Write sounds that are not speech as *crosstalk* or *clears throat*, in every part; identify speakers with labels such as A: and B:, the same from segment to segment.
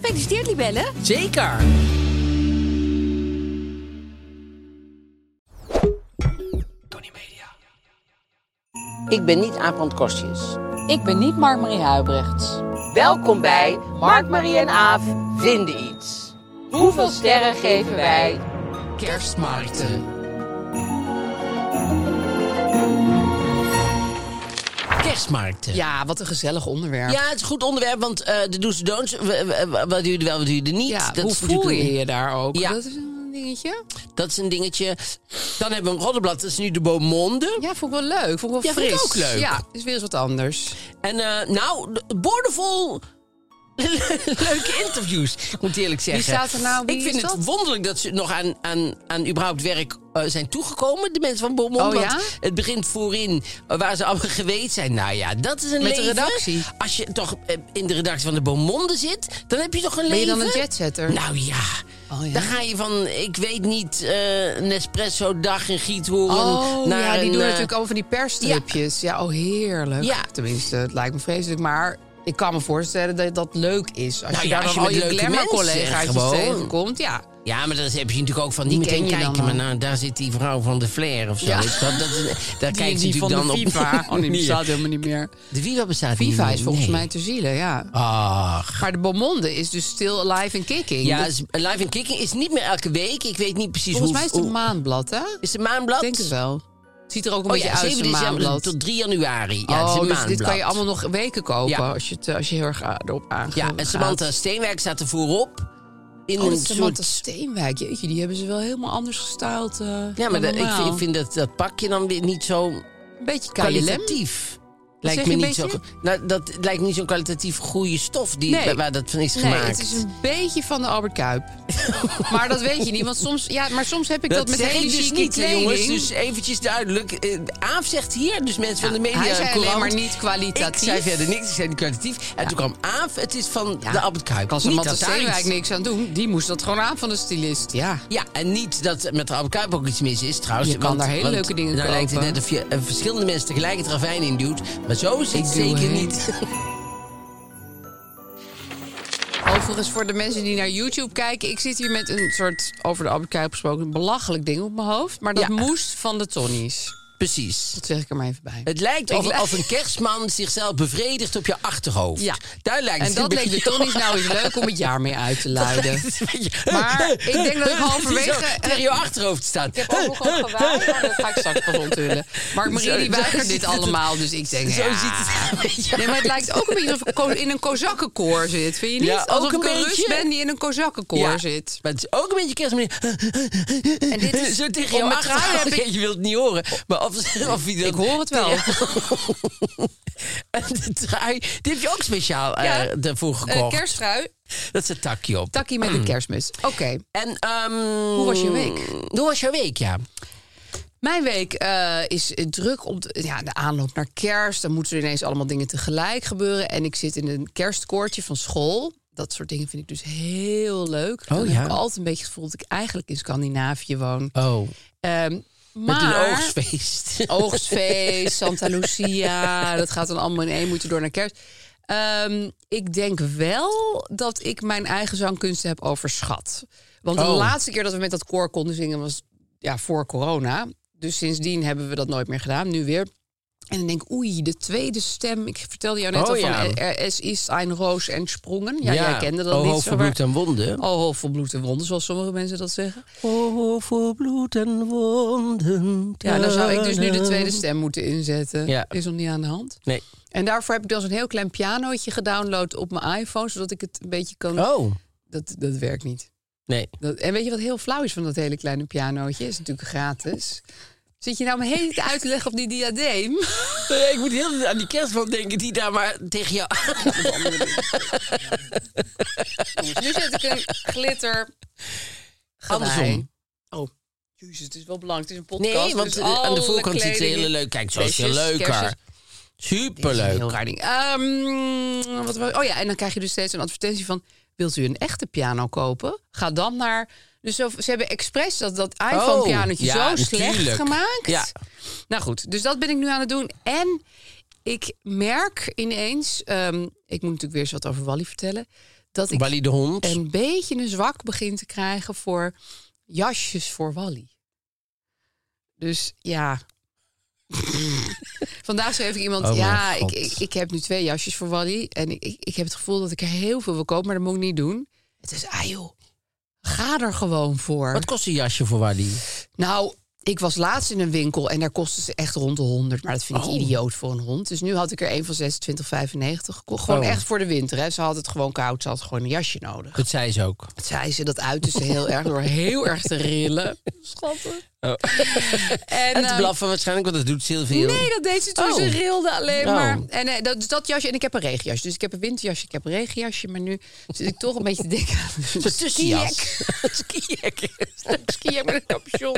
A: Gefeliciteerd, Libelle.
B: Zeker! Ik ben niet Aap Kostjes.
C: Ik ben niet Mark-Marie Huibrechts.
B: Welkom bij Mark, Marie en Aaf vinden iets. Hoeveel sterren geven wij kerstmarkten? Kerstmarkten.
C: Ja, wat een gezellig onderwerp.
B: Ja, het is een goed onderwerp, want eh, de do's en don'ts, w- w- w- wat doe je er wel, wat doe je er niet.
C: Ja,
B: dat,
C: hoe
B: is
C: voel
B: natuurlijk
C: je je daar ook?
B: Ja.
C: Dat is een dingetje.
B: een- dat is een dingetje. Dan hebben we een roddelblad, dat is nu de Beaumonde.
C: Ja, vond ik wel leuk. Vond ik
B: Ja,
C: wel fris.
B: vond ik ook leuk.
C: Ja, is weer eens wat anders.
B: En eh, nou, de- boordevol leuke interviews, moet ik eerlijk zeggen.
C: staat er nou? Wie
B: ik vind
C: is
B: het
C: dat?
B: wonderlijk dat ze nog aan, aan, aan überhaupt werk eh, zijn toegekomen, de mensen van Beaumont.
C: Oh,
B: want
C: ja?
B: het begint voorin eh, waar ze allemaal *laughs* geweest zijn. Nou ja, dat is een
C: Met de
B: leven.
C: redactie.
B: Als je toch eh, in de redactie van de Beaumonde zit, dan heb je toch een
C: Ben je
B: leven.
C: dan een jetsetter?
B: Nou ja.
C: Oh, ja?
B: Dan ga je van, ik weet niet, eh Nespresso dag in Giethoorn.
C: Oh,
B: naar
C: ja, die
B: een,
C: doen
B: eh,
C: natuurlijk over die persstripjes. Ja. oh heerlijk.
B: Ja.
C: Tenminste, het lijkt me vreselijk, maar... Ik kan me voorstellen dat dat leuk is. Als
B: Nou
C: je
B: ja,
C: daar
B: als
C: dan
B: je
C: al
B: met
C: je
B: leuke
C: glamour-collega's
B: mensen gewoon-
C: tegenkomt. Ja.
B: Ja, maar dan heb je natuurlijk ook van
C: Die
B: niet meteen
C: ken je dan
B: kijken. Maar
C: al.
B: nou, daar zit die vrouw van de Flair of zo.
C: Ja.
B: Weet je wel, dat, is- daar
C: Die,
B: kijkt
C: die
B: je
C: van
B: natuurlijk
C: de
B: dan *laughs*
C: FIFA.
B: op.
C: Oh, die
B: Nee.
C: bestaat helemaal niet meer.
B: De FIFA bestaat niet
C: FIFA
B: meer,
C: is volgens
B: nee.
C: mij te zielen, ja.
B: Ach.
C: Maar de Beaumonde is dus still alive and kicking.
B: Ja,
C: Dat-
B: is- Live and Kicking is niet meer elke week. Ik weet niet precies
C: volgens
B: hoe...
C: mij is het een
B: hoe-
C: maanblad, hè? Ik
B: Is het een maanblad?
C: denk het wel. Het ziet er ook een
B: Oh
C: beetje
B: ja,
C: uit als
B: 7
C: een
B: december
C: maanblad.
B: tot 3 januari. Ja, het is een
C: oh, dus
B: maanblad.
C: dit kan je allemaal nog weken kopen
B: Ja.
C: als, je het, eh, als je heel erg eh, erop aangaat.
B: Ja, en Samantha Steenwerk staat er voorop. In
C: Oh, dat
B: een
C: is Samantha
B: soort...
C: Steenwijk. Jeetje, die hebben ze wel helemaal anders gestyled. eh,
B: Ja, maar
C: dan
B: dat- ik
C: normaal.
B: vind, ik vind dat, dat pakje dan weer niet zo
C: Een beetje KLM.
B: kwalitatief.
C: zeg
B: Lijkt
C: je
B: me
C: een
B: niet zo,
C: beetje?
B: nou, dat lijkt niet zo'n kwalitatief goede stof die,
C: Nee.
B: waar dat van is
C: Nee,
B: gemaakt.
C: het is een beetje van de Albert Kuip.
B: *laughs*
C: maar dat weet je niet, want soms, ja, maar soms heb ik dat, met
B: zeg
C: hele
B: ik dus
C: chique
B: niet, hè,
C: kleding.
B: jongens. Dus eventjes duidelijk. Eh, Aaf zegt hier, dus mensen van de media.
C: hij zei alleen
B: courant,
C: maar niet kwalitatief.
B: Ik zei verder niks, ik zei niet kwalitatief. En toen kwam Aaf, het is van de Albert Kuip.
C: Kan
B: Niet
C: Samantha
B: dat daar
C: Steenwijk
B: iets-
C: niks aan doen. Die moest dat gewoon aan van de stylist, ja.
B: Ja, en niet dat met de Albert Kuip ook iets mis is trouwens.
C: Je kan daar hele leuke dingen
B: dan lijkt het
C: kopen.
B: net of je eh, verschillende mensen tegelijk het ravijn induwt. Maar zo is het
C: Ik doe
B: zeker
C: het.
B: niet.
C: Overigens, voor de mensen die naar YouTube kijken... ik zit hier met een soort, over de Albert Kuip gesproken... belachelijk ding op mijn hoofd. Maar dat
B: Ja.
C: moest van de Tonnies.
B: Precies.
C: Dat zeg ik er maar even bij.
B: Het lijkt
C: Ik
B: of,
C: li-
B: of een kerstman zichzelf bevredigt op je achterhoofd.
C: Ja.
B: Daar lijkt
C: en
B: het
C: dat
B: een
C: leek de
B: beetje
C: Tonnies
B: op.
C: nou eens leuk om het jaar mee uit *laughs* te luiden.
B: Maar
C: Maar ik denk dat ik halverwege-
B: Tegen je achterhoofd staat.
C: Ik heb ook nog een gewaar, maar dat ga ik straks pas onthullen. Maar Marie
B: Zo-
C: die
B: zo
C: weigert
B: ziet
C: *laughs* dit
B: het er-
C: allemaal, dus ik denk...
B: Zo
C: ja.
B: ziet het er een beetje
C: Nee, maar het
B: uit.
C: lijkt ook een beetje alsof ik ko- in een kozakkenkoor zit. Vind je niet?
B: Ja, ook
C: alsof
B: een
C: ik een Rus
B: beetje.
C: ben die in een kozakkenkoor
B: Ja.
C: zit.
B: Maar het is ook een beetje kerstmeer. En
C: dit is-
B: Zo tegen
C: om
B: je
C: mijn
B: achterhoofd.
C: tranen heb
B: Je wilt het niet horen. Maar of, of je dat-
C: Ik hoor het wel.
B: En de trui, die heb je ook speciaal
C: Ja.
B: eh, daarvoor gekocht.
C: Eh kersttrui,
B: Dat is een takje op.
C: takkie met een kerstmis. Oké,
B: En, ehm,
C: hoe was je week?
B: Hoe was je week, ja.
C: Mijn week eh, is eh, druk op de, ja, de aanloop naar kerst. Dan moeten er ineens allemaal dingen tegelijk gebeuren. En ik zit in een kerstkoortje van school. Dat soort dingen vind ik dus heel leuk. Dan
B: Oh,
C: heb
B: ja.
C: ik altijd een beetje het gevoel dat ik eigenlijk in Scandinavië woon.
B: Oh,
C: Ehm,
B: met een
C: maar
B: oogstfeest.
C: oogstfeest, Santa Lucia. Dat gaat dan allemaal in één moeten door naar kerst. Ehm, ik denk wel dat ik mijn eigen zangkunsten heb overschat. Want de
B: Oh.
C: laatste keer dat we met dat koor konden zingen was ja, voor corona. Dus sindsdien hebben we dat nooit meer gedaan. Nu weer. En dan denk ik, oei, de tweede stem. Ik vertelde jou net
B: Oh,
C: al
B: ja.
C: van eh, er, es ist ein Roos en Sprongen. Ja, jij kende dat
B: oh,
C: niet.
B: hoofd
C: zo,
B: voor
C: maar-
B: bloed en wonden.
C: Oh, hoofd voor bloed en wonden, zoals sommige mensen dat zeggen.
B: Oh, voor bloed en wonden.
C: Ja, dan zou ik dus nu de tweede stem moeten inzetten.
B: Ja.
C: Is nog niet aan de hand.
B: Nee.
C: En daarvoor heb ik dan zo'n heel klein pianootje gedownload op mijn iPhone, zodat ik het een beetje kan...
B: Oh,
C: Dat, dat werkt niet.
B: nee.
C: Dat, en weet je wat heel flauw is van dat hele kleine pianootje? Is natuurlijk gratis. Zit je nou me hele tijd uit te leggen op die diadeem? *laughs* Eh,
B: Nee, Ik moet heel de tijd aan die kerstman denken die daar maar tegen jou...
C: Nu zet ik een glitter. gewei.
B: Andersom.
C: Oh, jezus, het is wel belangrijk. Het is een podcast.
B: Nee, want
C: dus
B: eh, aan de
C: alle
B: voorkant zit ze
C: kleding-
B: hele leuk. Kijk, zo is je
C: Flesjes, kerstjes.
B: leuker.
C: Dit is een
B: Superleuk.
C: Heel raar ding. Ehm, wat, wou- oh ja, en dan krijg je dus steeds een advertentie van... wilt u een echte piano kopen? Ga dan naar... Dus zo- ze hebben expres dat, dat iPhone-pianotje
B: Oh, ja,
C: zo
B: natuurlijk.
C: slecht gemaakt.
B: Ja.
C: Nou goed, dus dat ben ik nu aan het doen. En ik merk ineens... ehm, ik moet natuurlijk weer eens wat over Wally vertellen... dat ik
B: Wally de hond.
C: een beetje een zwak begin te krijgen voor jasjes voor Wally. Dus ja. *laughs* Vandaag schreef ik iemand,
B: Oh mijn
C: ja, ik,
B: God.
C: ik, ik heb nu twee jasjes voor Wally. En ik, ik, ik heb het gevoel dat ik er heel veel wil kopen, maar dat moet ik niet doen. Het is, ah joh, ga er gewoon voor.
B: Wat kost een jasje voor Wally?
C: Nou, ik was laatst in een winkel en daar kostte ze echt rond de 100. Maar dat vind
B: Oh.
C: ik idioot voor een hond. Dus nu had ik er een van 26,95 gekocht. Gewoon
B: Oh.
C: echt voor de winter. Hè. Ze had het gewoon koud, ze had gewoon een jasje nodig.
B: Dat zei ze ook.
C: Dat zei ze, dat uitte ze heel erg door heel erg te rillen. Oh. Schattig. *laughs* En,
B: En te
C: ehm,
B: blaffen waarschijnlijk, want dat doet Sylvie.
C: Nee, dat deed ze toen.
B: Oh.
C: Ze rilde alleen
B: Oh.
C: maar. En eh, dat, dus dat jasje, en ik heb een regenjasje. Dus ik heb een winterjasje, ik heb een regenjasje. Maar nu zit ik toch een beetje te denken *laughs* aan een
B: Een
C: *laughs*
B: tussenjas.
C: skijak. Skijak met een capuchon.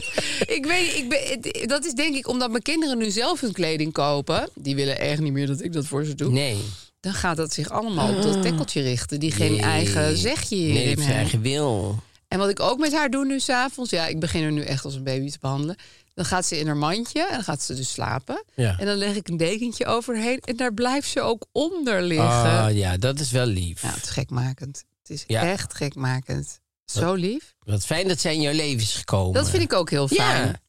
C: Ik weet niet, ik ben, het- dat is denk ik omdat mijn kinderen nu zelf hun kleding kopen. Die willen echt niet meer dat ik dat voor ze doe.
B: Nee.
C: Dan gaat dat zich allemaal op dat tekkeltje richten. Die geen
B: Nee.
C: eigen zegje hierin
B: Nee, dat is
C: heeft.
B: eigen wil.
C: En wat ik ook met haar doe nu s'avonds, ja, ik begin haar nu echt als een baby te behandelen. Dan gaat ze in haar mandje en dan gaat ze dus slapen.
B: Ja.
C: En dan leg ik een dekentje overheen en daar blijft ze ook onder liggen.
B: Ah, ja, dat is wel lief.
C: Ja, het is gekmakend. Het is
B: Ja.
C: echt gekmakend. Zo lief.
B: Wat fijn dat zij in jouw leven is gekomen.
C: Dat vind ik ook heel
B: Ja.
C: fijn.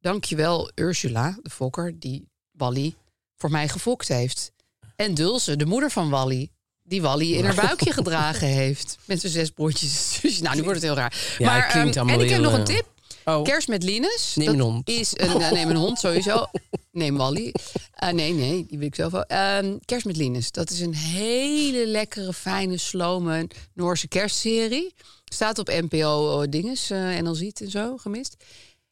C: Dankjewel Ursula, de fokker, die Wally voor mij gefokt heeft. En Dulce, de moeder van Wally, die Wally in haar
B: *laughs*
C: buikje gedragen heeft. Met zijn zes broertjes. Dus, nou, nu wordt het heel raar.
B: Ja, het klinkt
C: ehm,
B: allemaal
C: en ik heb
B: heel,
C: nog een
B: eh,
C: tip.
B: Oh.
C: Kerst met Linus.
B: Neem
C: dat
B: een hond.
C: Is een, nou, neem een hond
B: *laughs*
C: sowieso. Neem Wally. Ah, nee, nee, die wil ik zelf wel. Ehm, Kerst met Linus. Dat is een hele lekkere, fijne, slome Noorse kerstserie. Staat op NPO eh, dinges eh, en dan ziet en zo, gemist.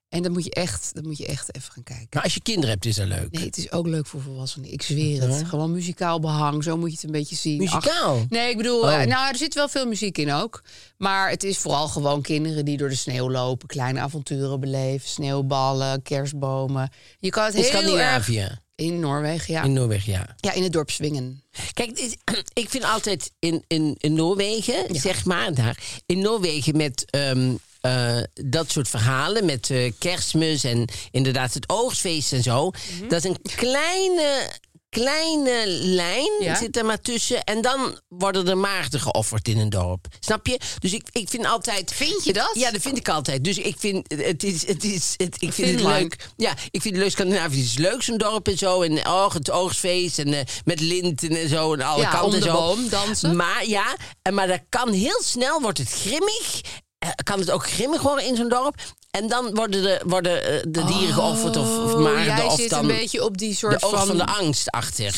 C: En dat moet je echt, dat moet je echt even gaan kijken.
B: Maar als je kinderen hebt, is dat leuk.
C: Nee, het is ook leuk voor volwassenen. Ik zweer het. Gewoon muzikaal behang. Zo moet je het een beetje zien.
B: Muzikaal?
C: Ach, nee, ik bedoel,
B: Oh.
C: eh, nou, er zit wel veel muziek in ook. Maar het is vooral gewoon kinderen die door de sneeuw lopen, kleine avonturen beleven, sneeuwballen, kerstbomen. Je kan het
B: In
C: heel erg
B: Scandinavië,
C: in Noorwegen, ja.
B: in Noorwegen, ja.
C: ja, in het dorp swingen.
B: Kijk, dit is- *clears throat* ik vind altijd in, in, in Noorwegen, zeg maar, daar, in Noorwegen met ehm, eh, dat soort verhalen, met eh, kerstmis en inderdaad het oogstfeest en zo,
C: Mhm.
B: dat een kleine, kleine lijn
C: Ja.
B: zit er maar tussen en dan worden er maagden geofferd in een dorp. Snap je? Dus ik, ik vind altijd...
C: Vind je dat?
B: Ja, dat vind ik altijd. Dus ik vind het, is, het, is, het, ik vind het
C: Finland.
B: leuk. Ja, ik vind het leuk. Scandinavië is leuk, zo'n dorp en zo. En oh, het oogstfeest en eh, met linten en zo. En alle
C: Ja,
B: kanten
C: om de
B: zo.
C: boom dansen.
B: Maar ja, en maar dat kan heel snel, wordt het grimmig. Eh, Kan het ook grimmig worden in zo'n dorp. En dan worden de, worden eh, de dieren geofferd of, of
C: Oh,
B: maagden.
C: jij
B: Of
C: zit
B: dan
C: een beetje op die
B: de
C: soort
B: oog
C: van,
B: van de angst achter.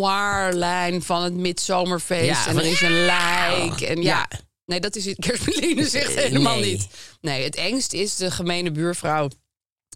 C: Scandi-noir-lijn van het midzomerfeest.
B: Ja,
C: en
B: van-
C: er is een lijk. En ja.
B: Ja.
C: Nee, dat is het. Kerstmeline zegt helemaal
B: nee.
C: niet. Nee, het engst is de gemene buurvrouw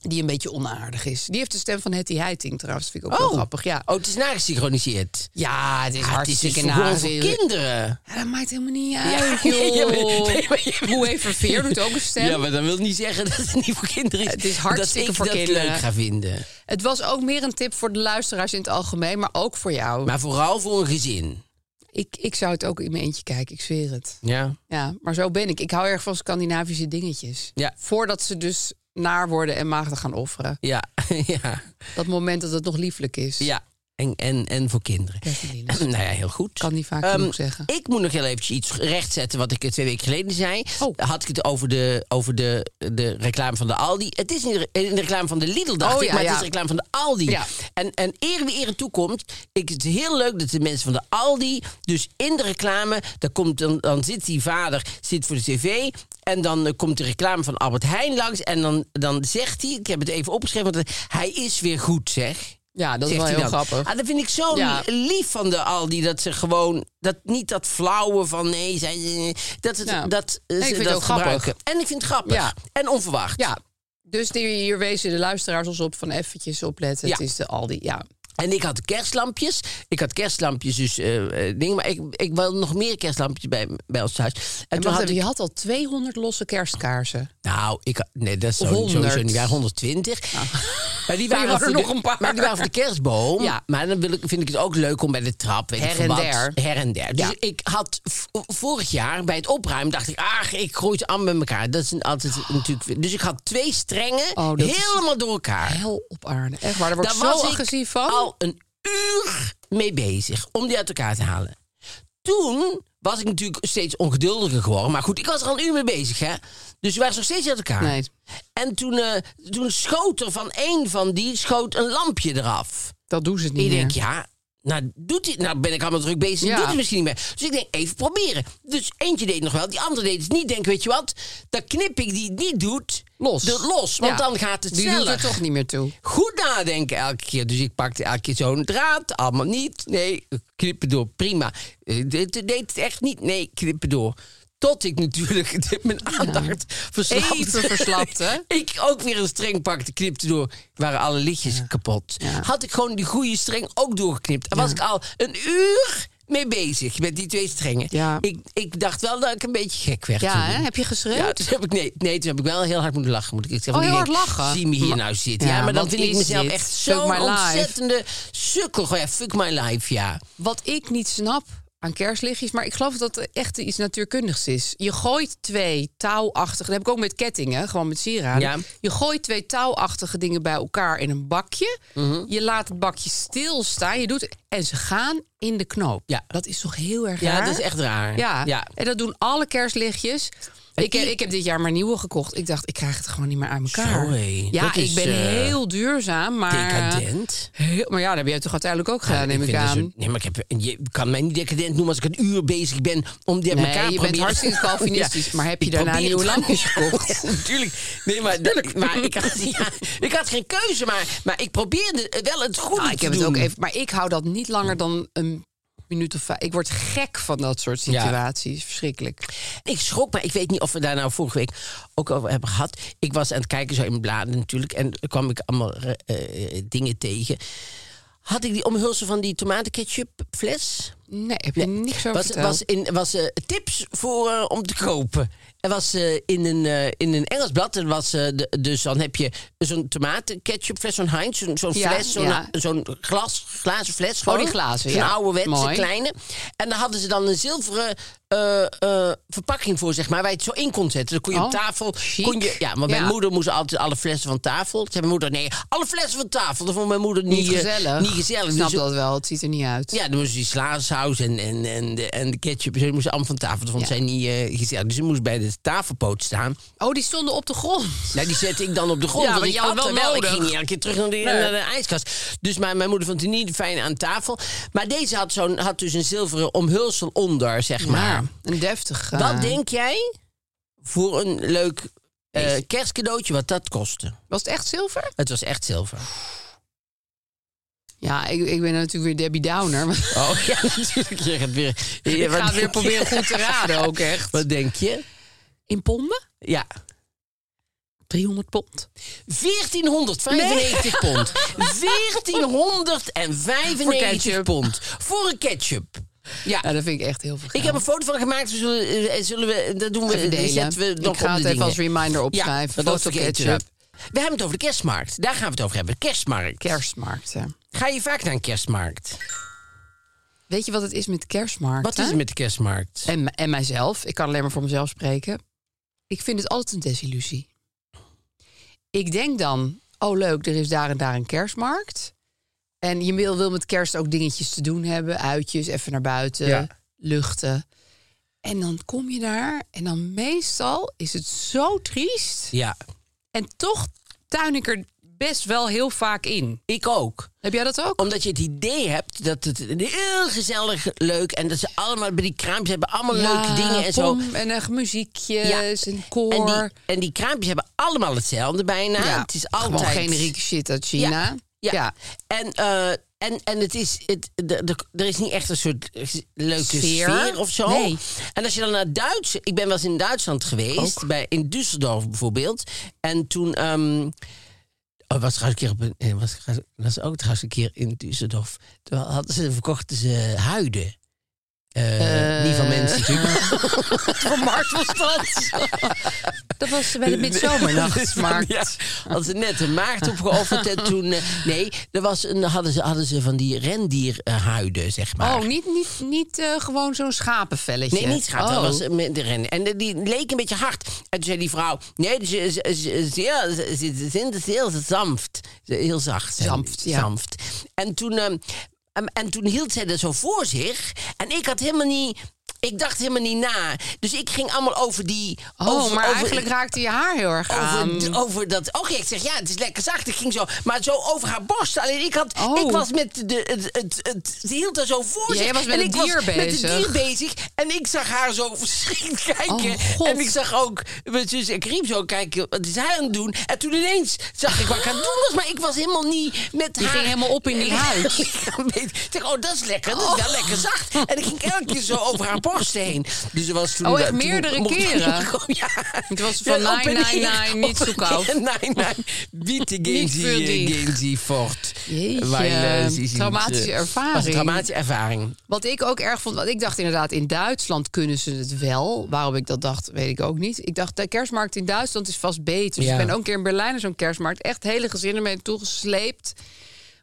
C: die een beetje onaardig is. Die heeft de stem van Hetty Heiting trouwens. vind ik ook wel
B: Oh.
C: grappig. Ja,
B: Oh, het is nagesynchroniseerd.
C: ja het is
B: Ah, het is dus
C: hartstikke
B: voor gewoon voor
C: nazi.
B: kinderen.
C: Ja, dat maakt helemaal
B: *laughs*
C: niet
B: Ja,
C: uit,
B: nee, maar-
C: joh.
B: nee, maar je-
C: Moe Verveer doet ook een stem.
B: Ja, maar dat wil niet zeggen dat het niet voor kinderen is.
C: Het is hartstikke
B: dat ik
C: voor
B: dat
C: kinderen.
B: leuk ga vinden.
C: Het was ook meer een tip voor de luisteraars in het algemeen, maar ook voor jou.
B: Maar vooral voor een gezin.
C: Ik, ik zou het ook in mijn eentje kijken, ik zweer het.
B: Ja.
C: Ja, maar zo ben ik. Ik hou erg van Scandinavische dingetjes.
B: Ja.
C: Voordat ze
B: *laughs*
C: dus naar worden en maagden gaan offeren.
B: Ja, ja,
C: Dat moment dat het nog lieflijk is.
B: ja. En, en, en voor kinderen. *clears throat*
C: Kerstmelinas.
B: nou ja, heel goed.
C: Kan niet vaak
B: Ehm,
C: genoeg zeggen.
B: Ik moet nog heel eventjes iets rechtzetten wat ik eh, twee weken geleden zei.
C: Oh.
B: Had ik het over, de, over de, de reclame van de Aldi. Het is niet de re- in de reclame van de Lidl, dacht
C: Oh,
B: ik,
C: ja,
B: maar
C: ja.
B: het is de reclame van de Aldi.
C: Ja.
B: En, en eer wie eer toekomt, ik, het is heel leuk dat de mensen van de Aldi, dus in de reclame, daar komt, dan, dan zit die vader zit voor de tv... En dan eh, komt de reclame van Albert Heijn langs. En dan, dan zegt hij, ik heb het even opgeschreven, want eh, hij is weer goed, zeg.
C: Ja, dat is
B: Zegt
C: wel
B: hij
C: heel
B: dan.
C: grappig.
B: Ah, dat vind ik zo
C: Ja.
B: li- lief van de Aldi. Dat ze gewoon, dat, niet dat flauwe van nee, zij, dat, het,
C: Ja.
B: dat eh,
C: Nee, ik
B: ze
C: vind het
B: dat
C: ook grappig.
B: gebruiken. En ik vind het grappig.
C: Ja.
B: En onverwacht.
C: Ja, dus die, hier wezen de luisteraars ons op van eventjes opletten.
B: Ja.
C: Het is de Aldi, ja.
B: En ik had kerstlampjes. Ik had kerstlampjes, dus eh eh, ding. Maar ik, ik wil nog meer kerstlampjes bij, bij ons thuis. En,
C: En
B: toen
C: wacht
B: had
C: even,
B: ik,
C: je had al 200 losse kerstkaarsen.
B: nou, ik, had- nee, dat is zo-
C: Honderd.
B: sowieso niet waar. 120. *laughs* Maar
C: *laughs*
B: die waren
C: Maar je had er
B: voor de-
C: nog een paar.
B: Maar die waren voor de kerstboom.
C: Ja.
B: Maar dan wil ik, vind ik het ook leuk om bij de trap. Weet ik
C: Her
B: veel
C: en
B: wat,
C: der.
B: Her en der. Dus
C: Ja.
B: ik had v- vorig jaar bij het opruimen dacht ik, ach, ik gooi het allemaal bij elkaar. Dat is een- altijd natuurlijk. Dus ik had twee strengen
C: Oh, dat is-
B: helemaal door elkaar.
C: Hel op aarde. Echt waar, daar word ik
B: Daar
C: zo
B: was ik
C: agressief van.
B: al een uur mee bezig om die uit elkaar te halen. Toen was ik natuurlijk steeds ongeduldiger geworden. Maar goed, ik was er al een uur mee bezig, hè. Dus we waren nog steeds uit elkaar.
C: Nee.
B: En toen, eh, toen schoot er van één van die schoot een lampje eraf.
C: Dat doen ze het niet
B: Ik
C: meer.
B: denk, ja, nou, doet hij, nou ben ik allemaal druk bezig,
C: Ja.
B: doet hij misschien niet meer. Dus ik denk, even proberen. Dus eentje deed het nog wel, die andere deed het niet. Denk, weet je wat, dan knip ik die het niet doet
C: Los.
B: er los. Want
C: Ja.
B: dan gaat het
C: Die doet
B: sneller.
C: er toch niet meer toe.
B: Goed nadenken elke keer. Dus ik pakte elke keer zo'n draad. Allemaal niet. Nee, knippen door. Prima. Eh, Dit dit deed het echt niet. Nee, knippen door. Tot ik natuurlijk *laughs* de- mijn aandacht verslapte.
C: Even verslapte.
B: *laughs* ik ook weer een streng pakte, knipte door. Waren alle liedjes kapot. Had ik gewoon die goede streng ook doorgeknipt. En was ik al een uur mee bezig met die twee strengen.
C: Ja.
B: Ik, ik dacht wel dat ik een beetje gek werd.
C: Ja,
B: toen.
C: hè? heb je
B: Ja,
C: geschreeuwd?
B: toen heb ik, nee, nee, toen heb ik wel heel hard moeten lachen. Moet ik zeggen.
C: Oh, heel
B: Want ik
C: hard
B: denk,
C: lachen?
B: Zie me hier
C: Maar-
B: nou zitten. Ja,
C: Ja,
B: maar dan
C: wat
B: vind ik
C: is
B: mezelf
C: dit?
B: echt
C: Fuck my
B: zo'n
C: life.
B: ontzettende sukkel. Gewoon, Ja, fuck my life, ja.
C: Wat ik niet snap aan kerstlichtjes, maar ik geloof dat het echt iets natuurkundigs is. Je gooit twee touwachtige, dat heb ik ook met kettingen, gewoon met sieraden.
B: Ja.
C: Je gooit twee touwachtige dingen bij elkaar in een bakje.
B: Mhm.
C: Je laat het bakje stilstaan, je doet het- en ze gaan in de knoop.
B: Ja.
C: Dat is toch heel erg
B: Ja,
C: raar?
B: dat is echt raar.
C: Ja.
B: ja.
C: en dat doen alle kerstlichtjes. Ik heb,
B: i-
C: ik heb dit jaar maar nieuwe gekocht. Ik dacht, ik krijg het gewoon niet meer aan elkaar.
B: Sorry,
C: Ja,
B: dat
C: ik
B: is,
C: ben
B: eh,
C: heel duurzaam, maar...
B: Decadent.
C: Heel- maar ja, dat heb jij toch uiteindelijk ook gedaan, neem ik,
B: vind dat
C: aan.
B: zo- nee, maar ik heb, en je kan mij niet decadent noemen als ik een uur bezig ben om die uit
C: Nee,
B: elkaar te
C: je bent
B: proberen. *laughs*
C: hartstikke Calvinistisch, maar heb je
B: ik
C: daarna
B: probeer het
C: nieuwe
B: gewoon. *laughs*
C: lampjes gekocht?
B: Natuurlijk. Nee, maar, maar ik, had, *laughs* ja, ik had geen keuze, maar, maar ik probeerde wel het goede
C: Ah, ik
B: te
C: heb
B: doen.
C: het ook even, maar ik hou dat niet langer dan een minuut of vijf. Ik word gek van dat soort situaties. Verschrikkelijk.
B: Ik schrok, maar ik weet niet of we daar nou vorige week ook over hebben gehad. Ik was aan het kijken zo in bladen natuurlijk. En er kwam ik allemaal eh, eh, dingen tegen. Had ik die omhulsel van die tomatenketchupfles?
C: Nee, heb je niks over
B: Was,
C: verteld.
B: was, in, was eh, tips voor, eh, om te kopen. Er was eh, in, een, eh, in een Engels blad, en was, eh, de, dus dan heb je zo'n tomatenketchupfles, zo'n Heinz, zo'n zo'n
C: Ja,
B: fles, zo'n eh,
C: ja. Oh,
B: zo'n glas, glazen fles. Gewoon.
C: die glazen,
B: Zo'n
C: ja.
B: ouderwetse,
C: Mooi.
B: kleine. En daar hadden ze dan een zilveren eh, eh, verpakking voor, zeg maar, waar je het zo in kon zetten. Dan kon je op
C: Oh,
B: tafel...
C: chic.
B: Kon je, ja, want mijn
C: Ja.
B: moeder moest altijd alle flessen van tafel. Toen zei mijn moeder, nee, alle flessen van tafel. Dat vond mijn moeder niet,
C: niet
B: eh,
C: gezellig.
B: Niet gezellig.
C: Ik snap
B: Dus-
C: dat wel. Het ziet er niet uit.
B: ja, dan moest die slasaus en, en, en, de, en de ketchup. Ze moesten allemaal van tafel. Dat vond
C: Ja.
B: zij niet eh, gezellig. Dus ze moest bij de tafelpoot staan.
C: Oh, die stonden op de grond.
B: Nou, die zette ik dan op de grond.
C: Ja,
B: want
C: want
B: ik
C: je had
B: at
C: wel
B: er Ik
C: nodig.
B: ging niet elke keer terug naar de, naar de ijskast. Dus mijn, mijn moeder vond het niet fijn aan tafel. Maar deze had, zo'n had dus een zilveren omhulsel onder, zeg maar.
C: Maar een deftig. eh,
B: Wat denk jij voor een leuk eh, kerstcadeautje wat dat kostte?
C: Was het echt zilver?
B: Het was echt zilver.
C: Ja, ik, ik ben natuurlijk weer Debbie
B: *laughs*
C: Downer. maar *laughs*
B: Oh ja, natuurlijk. Je gaat weer,
C: ik
B: wat
C: ga het weer
B: denk je?
C: proberen goed te raden ook echt.
B: Wat denk je?
C: In ponden?
B: Ja.
C: 300 pond.
B: 1495
C: *laughs*
B: pond. 1495
C: ketchup.
B: pond. Voor een ketchup. Ja.
C: Ja, dat vind ik echt heel veel
B: Ik
C: geld.
B: heb een foto van gemaakt. We zullen, eh, zullen we, dat doen we,
C: Even
B: die
C: delen.
B: zetten we nog
C: Ik ga
B: op
C: het
B: de
C: even als
B: dingen.
C: reminder
B: Ja,
C: opschrijven.
B: dat
C: Foto
B: vergeten
C: ketchup.
B: we. We hebben het over de kerstmarkt. Daar gaan we het over hebben. Kerstmarkt.
C: Kerstmarkten.
B: Ga je vaak naar een kerstmarkt?
C: Weet je wat het is met kerstmarkten?
B: Wat is er met de kerstmarkt?
C: En, en mijzelf, ik kan alleen maar voor mezelf spreken. Ik vind het altijd een desillusie. Ik denk dan, oh leuk, er is daar en daar een kerstmarkt. En je wil, wil met kerst ook dingetjes te doen hebben. Uitjes, even naar buiten,
D: Ja.
C: luchten. En dan kom je daar en dan meestal is het zo triest.
B: Ja,
C: En toch tuin ik er best wel heel vaak in.
B: ik ook.
C: Heb jij dat ook?
B: Omdat je het idee hebt dat het een heel gezellig, leuk... en dat ze allemaal bij die kraampjes hebben allemaal leuke dingen en zo.
C: pom En echt muziekjes en koor.
B: En die, en die kraampjes hebben allemaal hetzelfde bijna. het is altijd...
C: Gewoon generieke shit uit China.
B: Ja. En, eh, en, en het is, het, de- de- er is niet echt een soort eh, leuke sfeer,
C: Sfeer?
B: of zo.
C: Nee.
B: En als je dan naar Duits... Ik ben wel eens in Duitsland geweest, bij, in Düsseldorf bijvoorbeeld. En toen... ehm, Oh, was trouwens een keer op een, eh, was, trouwens- was ook trouwens een keer in Düsseldorf. Toen hadden ze, verkochten ze huiden. Eh, Niet van mensen natuurlijk.
C: Van Markt was dat. *laughs* dat was bij de midzomernachtmarkt.
B: *laughs* Ja, hadden ze net een maart opgeofferd en toen... eh, nee, er was een, hadden, ze, hadden ze van die rendierhuiden, zeg maar.
C: Oh, niet, niet, niet eh, gewoon zo'n schapenvelletje.
B: Nee, niet schat.
C: Oh.
B: Dat was eh, met de ren. En eh, die leek een beetje hard. En toen zei die vrouw... Nee, ze, ze, ze, zeer- ze, ze zijn dus heel zacht. Ze- Heel zacht. zijn.
C: Zacht, ja.
B: Zacht. En toen, ehm, em, en toen hield zij dat zo voor zich. En ik had helemaal niet... Ik dacht helemaal niet na. Dus ik ging allemaal over die...
C: Oh,
B: over,
C: maar
B: over-
C: eigenlijk raakte je haar heel erg aan.
B: over, over dat. Oké, ik zeg ja, het is lekker zacht. Ik ging zo, maar zo over haar borst. Alleen ik had,
C: Oh.
B: ik was met de, het, het, het, ze hield er zo voor
C: Ja,
B: zich.
C: jij was met
B: en
C: het
B: ik
C: dier
B: was met het
C: bezig.
B: dier bezig. En ik zag haar zo verschrikt kijken.
C: Oh, God.
B: en ik zag ook mijn zus en Kriem zo kijken. Wat is hij aan het doen? En toen ineens zag ik wat ik aan het doen was, maar ik was helemaal niet met
C: Die
B: haar.
C: ging helemaal
B: *laughs*
C: op in die huid.
B: lichaam bezig. Ik dacht, oh, dat is lekker. Dat is wel lekker zacht. En ik ging elke keer zo over haar borst heen. Dus er was toen
C: Oh, echt
B: toen
C: meerdere
B: mocht-
C: keren?
B: *laughs* Ja.
C: Het was van
B: Ja, op en
C: 999
B: neer.
C: niet zo
B: *laughs*
C: koud.
B: Ja, Nein, nein. Bitte gehen
C: Niet
B: Sie,
C: für dich.
B: gehen Sie fort.
C: Jeetje,
B: eh, Sie sind,
C: traumatische
B: eh,
C: ervaring.
B: was een traumatische ervaring.
C: Wat ik ook erg vond, want ik dacht inderdaad, in Duitsland kunnen ze het wel. Waarom ik dat dacht, weet ik ook niet. Ik dacht, de kerstmarkt in Duitsland is vast beter. Dus
B: Ja.
C: ik ben ook een keer in Berlijn naar zo'n kerstmarkt. Echt hele gezinnen mee naartoe gesleept.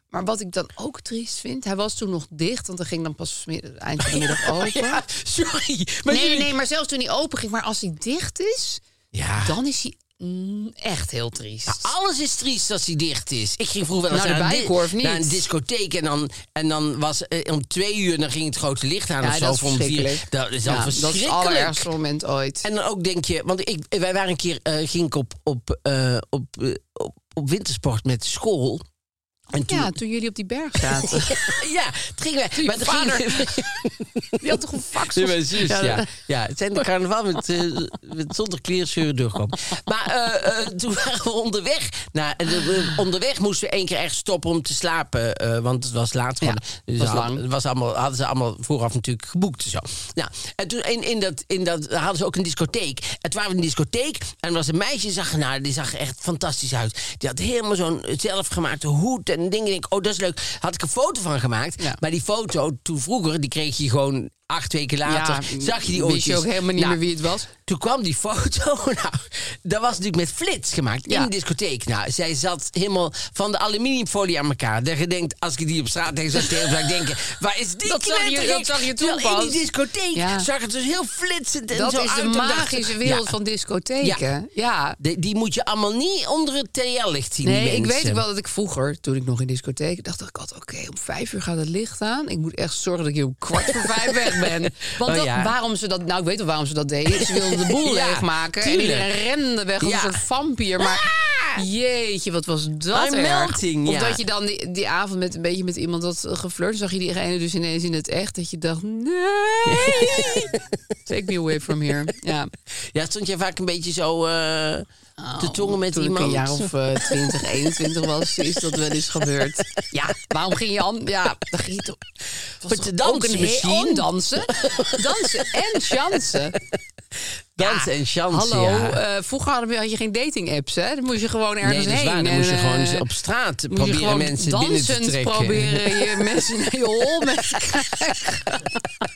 C: Maar wat ik dan ook triest vind, hij was toen nog dicht, want hij ging dan pas vanmiddag- eind van de middag open.
B: *laughs* Ja, sorry. Maar
C: nee, nee,
B: jullie-
C: nee, maar zelfs toen hij open ging, maar als hij dicht is,
B: Ja.
C: dan is hij mm, echt heel triest.
B: Alles is triest als hij dicht is. Ik ging vroeger wel eens
C: Nou,
B: naar,
C: de
B: een di-
C: Bijenkorf niet.
B: naar een discotheek. En dan, en dan was eh, om twee uur dan ging het grote licht aan.
C: Ja,
B: of zo,
C: dat is
B: of om vier-
C: verschrikkelijk.
B: Dat is dan
C: Ja, dat is het
B: verschrikkelijk.
C: allerergste moment ooit.
B: En dan ook denk je, want ik, wij waren een keer, eh, ging ik op, op, eh, op, eh, op, op wintersport met school. En toen,
C: ja, toen jullie op die berg zaten.
B: *laughs* ja, het ging weg.
C: je vader- Die had toch een fax?
B: Ja, mijn zus, ja. ja. Het zijn de carnaval met, eh, met zonder kleerscheuren doorkomen. Maar eh, eh, toen waren we onderweg. Nou, en, eh, onderweg moesten we één keer echt stoppen om te slapen. eh, want het was laat geworden.
C: Ja,
B: Dus
C: was
B: ze hadden-
C: lang.
B: was allemaal, hadden ze allemaal vooraf natuurlijk geboekt. en Zo. Nou, en toen in, in, dat, in dat hadden ze ook een discotheek. En toen waren we in de discotheek. En er was een meisje, die zag, nou, die zag er echt fantastisch uit. Die had helemaal zo'n zelfgemaakte hoed en dingen. Ik denk, oh, dat is leuk. Had ik een foto van gemaakt.
C: Ja.
B: Maar die foto, toen vroeger, die kreeg je gewoon acht weken later later
C: Ja,
B: zag je die
C: wist
B: oortjes.
C: je ook helemaal niet
B: Nou,
C: meer wie het was?
B: Toen kwam die foto. *laughs* Nou, dat was natuurlijk met flits gemaakt in
C: Ja.
B: de discotheek. Nou, zij zat helemaal van de aluminiumfolie aan elkaar. Dat je denkt, als ik die op straat tegen zou tegen, zou ik denken... *laughs* Waar is die
C: Dat zag je-
B: knettergek?
C: dat zag je toen
B: Terwijl in die
C: pas.
B: discotheek
C: Ja.
B: zag het dus heel flitsend en
C: Dat
B: zo
C: is
B: uit.
C: de
B: en dacht ik,
C: magische wereld
B: ja,
C: van discotheken. Ja.
B: Die, die moet je allemaal niet onder het TL-licht zien,
C: Nee,
B: die
C: ik weet
B: mensen.
C: ook wel dat ik vroeger, toen ik nog in discotheek, dacht ik altijd, oké, om vijf uur gaat het licht aan. Ik moet echt zorgen dat ik hier om kwart voor vijf weg ben. Want
B: *laughs* Oh,
C: dat-
B: ja.
C: waarom ze dat, nou, ik weet wel waarom ze dat deden. Ze wilden de
B: *laughs*
C: boel
B: Ja,
C: leegmaken en
B: tuurlijk.
C: iedereen rende weg als
B: Ja.
C: een soort vampier. Maar jeetje, wat was dat
B: Een
C: erg.
B: melting,
C: Of
B: ja.
C: dat je dan die, die avond met een beetje met iemand had eh, geflirt, zag je diegene dus ineens in het echt, dat je
B: *laughs*
C: dacht, nee, take me away from here. Ja.
B: Ja, stond jij vaak een beetje zo eh te tongen met
C: Oh, Toen
B: iemand?
C: ik een jaar of *laughs* eh, 20, 21 was, is dat wel eens gebeurd. Ja, waarom ging je aan? Ja, dan ging je toch... het was
B: Om te
C: toch
B: dansen
C: ook een
B: misschien?
C: heel- om Oh, dansen. Dansen en *laughs* chansen.
B: Dansen en chansen,
C: Hallo,
B: ja.
C: eh, vroeger hadden we, had je geen dating apps, hè? Dan moest je gewoon ergens
B: Nee, dat is
C: heen.
B: waar. Dan
C: en,
B: moest je
C: eh,
B: gewoon op straat
C: moest je
B: proberen
C: gewoon
B: mensen binnen
C: dansend
B: te trekken.
C: proberen *laughs* je mensen naar je hol met te krijgen.
B: *laughs*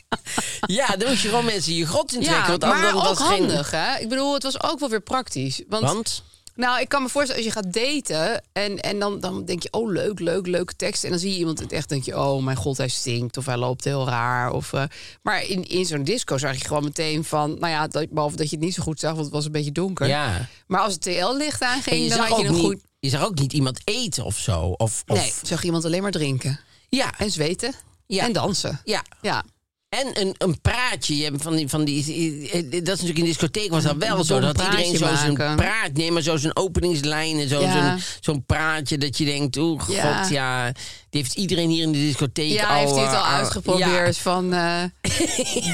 B: Ja, dan moest je gewoon mensen je grot in trekken.
C: Ja,
B: want
C: maar
B: anders
C: ook
B: was het
C: handig, hè? Ik bedoel, het was ook wel weer praktisch.
B: Geen... Want?
C: Nou, ik kan me voorstellen, als je gaat daten en, en dan, dan denk je, oh leuk, leuk, leuke tekst. En dan zie je iemand het echt, denk je, oh mijn god, hij stinkt of hij loopt heel raar. Of, eh, maar in, in zo'n disco zag je gewoon meteen van, nou ja, dat, behalve dat je het niet zo goed zag, want het was een beetje donker.
B: Ja.
C: Maar als het TL-licht
B: En
C: aanging,
B: je
C: dan
B: zag
C: had je
B: ook
C: een
B: niet
C: goed...
B: Je zag ook niet iemand eten of zo. Of, of,
C: Nee, ik zag iemand alleen maar drinken.
B: Ja,
C: En zweten.
B: Ja.
C: En dansen.
B: ja.
C: Ja.
B: En een, een praatje. Je hebt van die, van die, dat is natuurlijk in de discotheek was dat wel
C: Een
B: zo.
C: dom
B: Dat iedereen zo
C: praatje
B: zijn
C: maken.
B: praat neemt, maar zo zijn openingslijn en zo.
C: Ja.
B: Zo'n, zo'n praatje dat je denkt, oh god,
C: Ja.
B: ja. Die heeft iedereen hier in de discotheek
C: ja,
B: al...
C: heeft hij het al
B: eh,
C: uitgeprobeerd
B: ja. *laughs*
C: van... eh,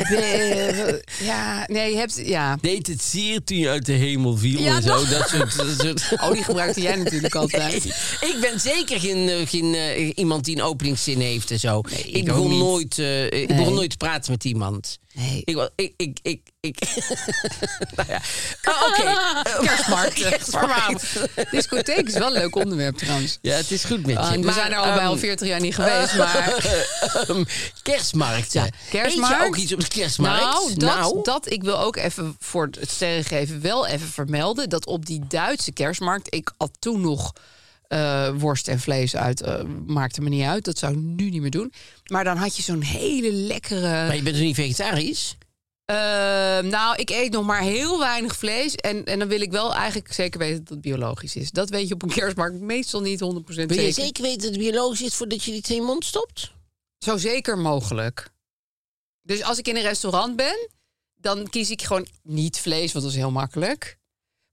C: be- ja, nee, je hebt...
B: *laughs*
C: Ja.
B: Deed het zeer toen je uit de hemel viel
C: Ja,
B: en zo.
C: dat-
B: Dat soort, dat *laughs* soort-
C: Oh, die gebruikte jij natuurlijk altijd.
B: Ik ben zeker geen, eh, geen eh, iemand die een openingszin heeft en zo. ik
C: ik ook
B: begon
C: niet.
B: nooit, eh, ik
C: Nee.
B: begon nooit te praten met iemand.
C: Nee.
B: Ik, wa- ik, ik, ik, ik. *laughs* nou ja. Ah, *laughs* Oké. Eh,
C: Kerstmarkt.
B: *laughs* Kerstmarkt.
C: Discotheek is wel een leuk onderwerp trouwens.
B: Ja, het is goed met je.
C: Ah, we
B: Maar,
C: zijn er allebei
B: ehm,
C: al 40 jaar niet geweest, maar...
B: *laughs* ehm, kerstmarkten.
C: Ja, kerstmarkt.
B: Eet je ook iets op de kerstmarkt?
C: Nou, dat, dat, ik wil ook even voor het sterrengeven wel even vermelden... dat op die Duitse kerstmarkt, ik had toen nog eh, worst en vlees uit... eh, maakte me niet uit, dat zou ik nu niet meer doen. Maar dan had je zo'n hele lekkere...
B: Maar je bent dus niet vegetarisch?
C: Eh, nou, ik eet nog maar heel weinig vlees. En, en dan wil ik wel eigenlijk zeker weten dat het biologisch is. Dat weet je op een *laughs* kerstmarkt meestal niet 100% zeker.
B: Wil je zeker weten dat het biologisch is voordat je die in je mond stopt?
C: Zo zeker mogelijk. Dus als ik in een restaurant ben, dan kies ik gewoon niet vlees, want dat is heel makkelijk.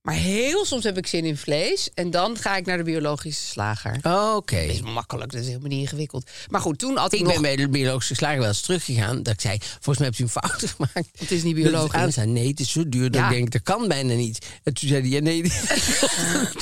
C: Maar heel soms heb ik zin in vlees. En dan ga ik naar de biologische slager.
B: Oké.
C: Dat is makkelijk, dat is helemaal niet ingewikkeld. Maar goed, toen had ik,
B: Ik
C: nog...
B: ben
C: *laughs*
B: bij de biologische slager wel eens teruggegaan. Dat ik zei, volgens mij hebt u een fout *laughs* gemaakt.
C: Het is niet
B: Dat het
C: biologisch.
B: aanstaan. Nee, het is zo duur dat
C: Ja.
B: ik denk, dat kan bijna niet. En toen zei hij, ja, nee,
C: *laughs*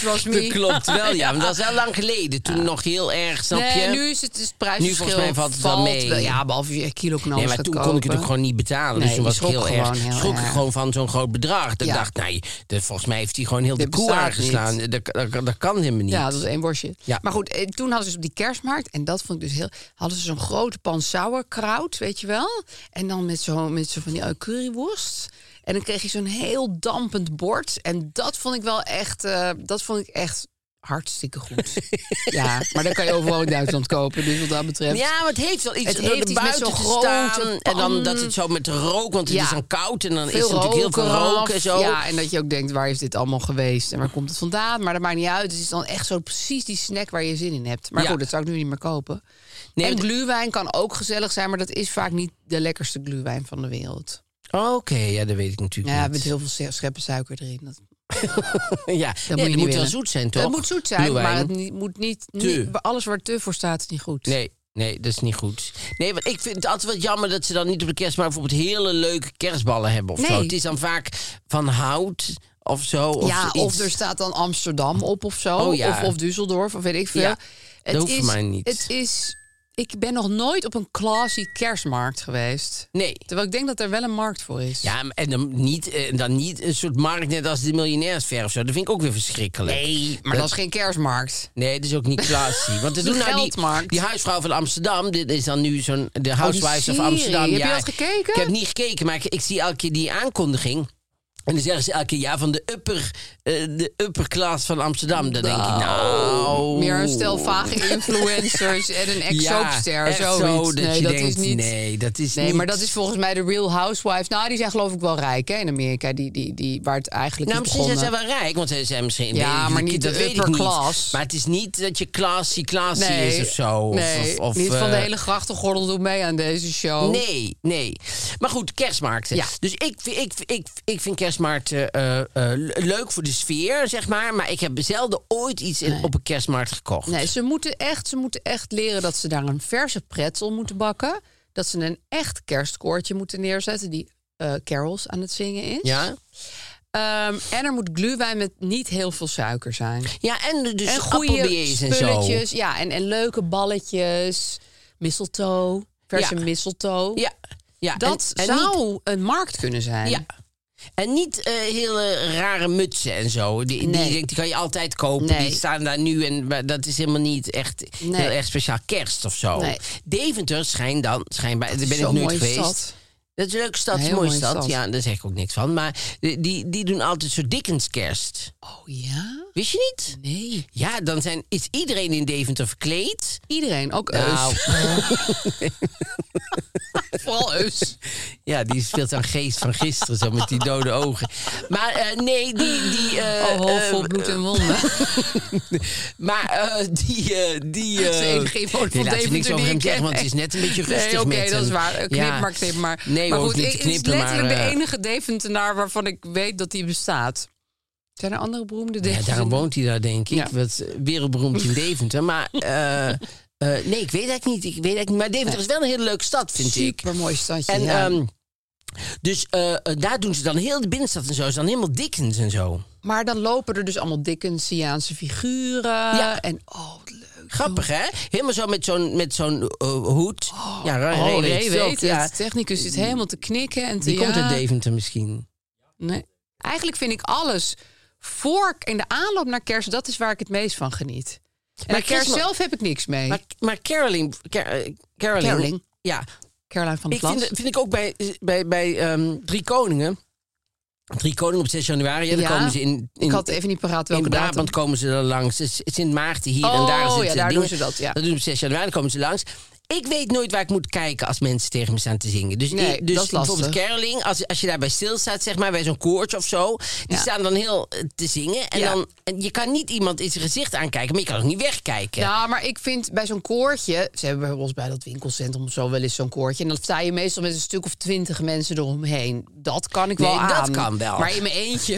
C: was
B: *laughs* dat klopt wel. Ja, want dat was wel
C: *laughs*
B: lang geleden. Toen nog heel erg, snap
C: Nee,
B: je?
C: nu is het, is het
B: Nu
C: prijsverschil.
B: volgens mij valt het wel mee.
C: ja, behalve je kilo knallen
B: Nee, maar toen kon ik het ook gewoon niet betalen. dus
C: Nee,
B: toen
C: je
B: was ik
C: schrok
B: heel erg.
C: gewoon heel
B: schrok ik
C: erg.
B: gewoon van zo'n groot bedrag. Dat
C: Ja.
B: ik dacht, nee, dat, volgens mij heeft hij gewoon heel
C: Dit
B: de koe
C: bestaat
B: aangeslaan. Dat, dat, dat kan helemaal niet.
C: Ja, dat was één worstje.
B: Ja.
C: Maar goed, eh, toen hadden ze dus op die kerstmarkt, en dat vond ik dus heel... hadden ze zo'n grote pan sauerkraut, weet je wel? En dan met zo'n met zo van die eh, curryworst. En dan kreeg je zo'n heel dampend bord. En dat vond ik wel echt... eh, dat vond ik echt hartstikke
B: *laughs*
C: goed. ja, maar dat kan je overal in Duitsland kopen, dus wat dat betreft...
B: Ja, maar het heeft wel iets.
C: Het
B: door
C: heeft
B: de
C: iets met
B: buiten
C: zo'n
B: te
C: grote
B: staan En dan
C: pan.
B: dat het zo met de rook, want het
C: Ja.
B: is dan koud. En dan is
C: veel
B: er natuurlijk heel veel
C: rook
B: rook en
C: eraf.
B: zo.
C: Ja, en dat je ook denkt, waar is dit allemaal geweest? En waar komt het vandaan? Maar dat maakt niet uit. Dus het is dan echt zo precies die snack waar je zin in hebt. Maar
B: Ja.
C: goed, dat zou ik nu niet meer kopen.
B: Nee,
C: en
B: want-
C: gluwijn kan ook gezellig zijn, maar dat is vaak niet de lekkerste gluwijn van de wereld.
B: Oké, ja, dat weet ik natuurlijk
C: Ja, met
B: niet.
C: heel veel se- scheppen suiker erin. Dat,
B: *laughs* ja, nee,
C: dat moet je
B: dat
C: niet
B: moet wel
C: willen.
B: zoet zijn, toch?
C: dat moet zoet zijn,
B: Glühwein.
C: maar het ni- moet niet,
B: Te.
C: niet- Alles waar te voor staat is niet goed.
B: Nee, nee, dat is niet goed. Nee, want ik vind het altijd wat jammer dat ze dan niet op de kerstmarkt bijvoorbeeld hele leuke kerstballen hebben of
C: Nee.
B: zo. Het is dan vaak van hout of zo. Of
C: ja,
B: iets.
C: of er staat dan Amsterdam op of zo.
B: Oh ja.
C: of, of Düsseldorf, of weet ik veel.
B: Ja,
C: het
B: hoeft voor
C: is-
B: mij niet.
C: Het is, ik ben nog nooit op een classy kerstmarkt geweest.
B: Nee.
C: Terwijl ik denk dat er wel een markt voor is.
B: Ja, en dan niet, eh, dan niet een soort markt net als de miljonairsver of zo. Dat vind ik ook weer verschrikkelijk.
C: Nee, maar dat is geen kerstmarkt.
B: Nee, dat is ook niet klassie. Want dat
C: De
B: doen nou die,
C: geldmarkt. Oh,
B: die huisvrouw van Amsterdam. Dit is dan nu zo'n de Housewives of
C: serie.
B: Amsterdam.
C: Heb je
B: ja,
C: dat gekeken?
B: Ik heb niet gekeken, maar ik, ik zie elke keer die aankondiging. En dan zeggen ze elke keer ja van de upper, eh, de upper class van Amsterdam. Dan denk ik nou.
C: Meer een stel
B: *laughs*
C: vage influencers en een ex-soapster.
B: Ja, echt
C: zoiets.
B: zo, dat
C: nee,
B: je
C: dat
B: denkt,
C: is niet.
B: nee, dat is
C: Nee,
B: niet-
C: maar dat is volgens mij de Real Housewives. Nou, die zijn geloof ik wel rijk hè, in Amerika, die, die, die, waar het eigenlijk
B: Nou,
C: is
B: misschien
C: begonnen.
B: zijn ze wel rijk, want ze zijn misschien...
C: Ja,
B: weet ik-
C: maar niet
B: dat
C: de
B: weet ik
C: upper
B: niet.
C: class.
B: Maar het is niet dat je classy classy is of zo. Of-
C: nee,
B: of, of,
C: niet van de
B: eh,
C: hele grachtengordel doet mee aan deze show.
B: Nee, nee. Maar goed, kerstmarkten.
C: Oh. Ja.
B: Dus ik, ik, ik, ik vind kerstmarkten eh, eh, le- leuk voor de sfeer, zeg maar. Maar ik heb zelden ooit iets in- op een kerstmarkt gekocht.
C: Nee, ze moeten, echt, ze moeten echt leren dat ze daar een verse pretzel moeten bakken. Dat ze een echt kerstkoortje moeten neerzetten die eh carols aan het zingen is.
B: Ja?
C: Ehm, en er moet gluwijn met niet heel veel suiker zijn.
B: ja, en dus
C: en goede
B: appelbeers en zo.
C: spulletjes. Ja, en, en leuke balletjes. Mistletoe. Verse
B: Ja.
C: mistletoe.
B: Ja, ja.
C: Dat
B: en, en
C: zou een markt kunnen zijn.
B: Niet, ja. En niet eh, hele rare mutsen en zo. Die,
C: Nee.
B: die, denk, die kan je altijd kopen.
C: Nee.
B: Die staan daar nu en maar dat is helemaal niet echt
C: Nee.
B: heel erg speciaal kerst of zo.
C: Nee.
B: Deventer schijnt dan, schijnbaar, daar ben ik
C: Zo'n
B: nooit
C: mooie
B: geweest.
C: stad.
B: Dat is een leuke stad,
C: Een heel
B: mooie
C: mooie
B: stad.
C: stad.
B: Ja, daar zeg ik ook niks van. Maar die, die doen altijd zo'n Dickens kerst.
C: Oh ja?
B: Wist je niet?
C: Nee.
B: Ja, dan zijn, is iedereen in Deventer verkleed.
C: Iedereen, ook
B: Nou, *laughs*
C: Eus. Vooral Eus.
B: *laughs* ja, die speelt dan geest van gisteren, zo met die dode ogen. Maar eh, nee, die... die eh,
C: oh, hoofd vol
B: eh,
C: bloed en wonden.
B: Maar eh, die... eh
C: *laughs*
B: die
C: Dat is de
B: eh,
C: enige woord van
B: nee, laten we
C: Deventer
B: niks
C: die
B: over
C: ik
B: hem
C: ken.
B: zeggen, want het is net een beetje rustig
C: Nee, oké,
B: met
C: dat is
B: hem.
C: waar. Eh, Knip
B: Ja.
C: maar, knip maar.
B: Nee,
C: maar
B: hoor,
C: goed,
B: niet
C: ik-
B: te
C: het is
B: knippen, maar,
C: letterlijk
B: eh,
C: de enige Deventenaar waarvan ik weet dat die bestaat. Zijn er andere beroemde
B: Ja,
C: Deventer?
B: daarom woont hij daar, denk ik.
C: Ja.
B: Wat eh, wereldberoemd in Deventer.
C: *laughs*
B: Maar eh, eh, nee, ik weet eigenlijk niet. Ik weet eigenlijk niet. Maar Deventer is wel een hele leuke stad, vind ik.
C: mooi stadje.
B: En
C: ja.
B: ehm, dus eh, eh, daar doen ze dan heel de binnenstad en zo. Is dan helemaal Dickens en zo.
C: maar dan lopen er dus allemaal Dickensiaanse figuren.
B: Ja.
C: En oh, wat leuk.
B: Grappig, hè? Helemaal zo met zo'n met zo'n eh, hoed. ja, Ray,
C: oh,
B: Ray het
C: Ray
B: ook,
C: weet het.
B: ja.
C: De technicus zit helemaal te knikken en te
B: Die komt
C: ja.
B: uit Deventer misschien.
C: Nee. Eigenlijk vind ik alles voor in de aanloop naar kerst, dat is waar ik het meest van geniet. En
B: Maar
C: aan kerst
B: kerstma-
C: zelf heb ik niks mee.
B: Maar, maar Caroline, Car- eh, Caroline...
C: Caroline.
B: Ja,
C: Caroline van der
B: Ik
C: Plas.
B: vind, vind ik ook bij, bij, bij ehm, Drie Koningen. Drie Koningen op 6 januari. Ja, dan
C: Ja.
B: komen ze in, in,
C: ik had even niet paraat
B: in
C: welke
B: Brabant
C: datum.
B: komen ze er langs. Dus Sint Maarten hier en
C: Oh,
B: daar zitten
C: ja, daar
B: dingen.
C: doen ze dat, ja.
B: Dat doen ze op 6 januari, dan komen ze langs. Ik weet nooit waar ik moet kijken als mensen tegen me staan te zingen. Dus,
C: Nee,
B: ik- dus
C: dat is lastig.
B: bijvoorbeeld Caroling, als, als je daarbij stilstaat, zeg maar, bij zo'n koortje of zo, die
C: Ja.
B: staan dan heel eh, te zingen. En
C: Ja.
B: dan, en je kan niet iemand in zijn gezicht aankijken, maar je kan ook niet wegkijken.
C: Ja, maar ik vind bij zo'n koortje... Ze hebben bij ons bij dat winkelcentrum zo wel eens zo'n koortje. En dan sta je meestal met een stuk of twintig mensen eromheen. Dat kan ik wel
B: Nee, dat
C: aan.
B: kan wel.
C: Maar in mijn
B: *laughs*
C: eentje.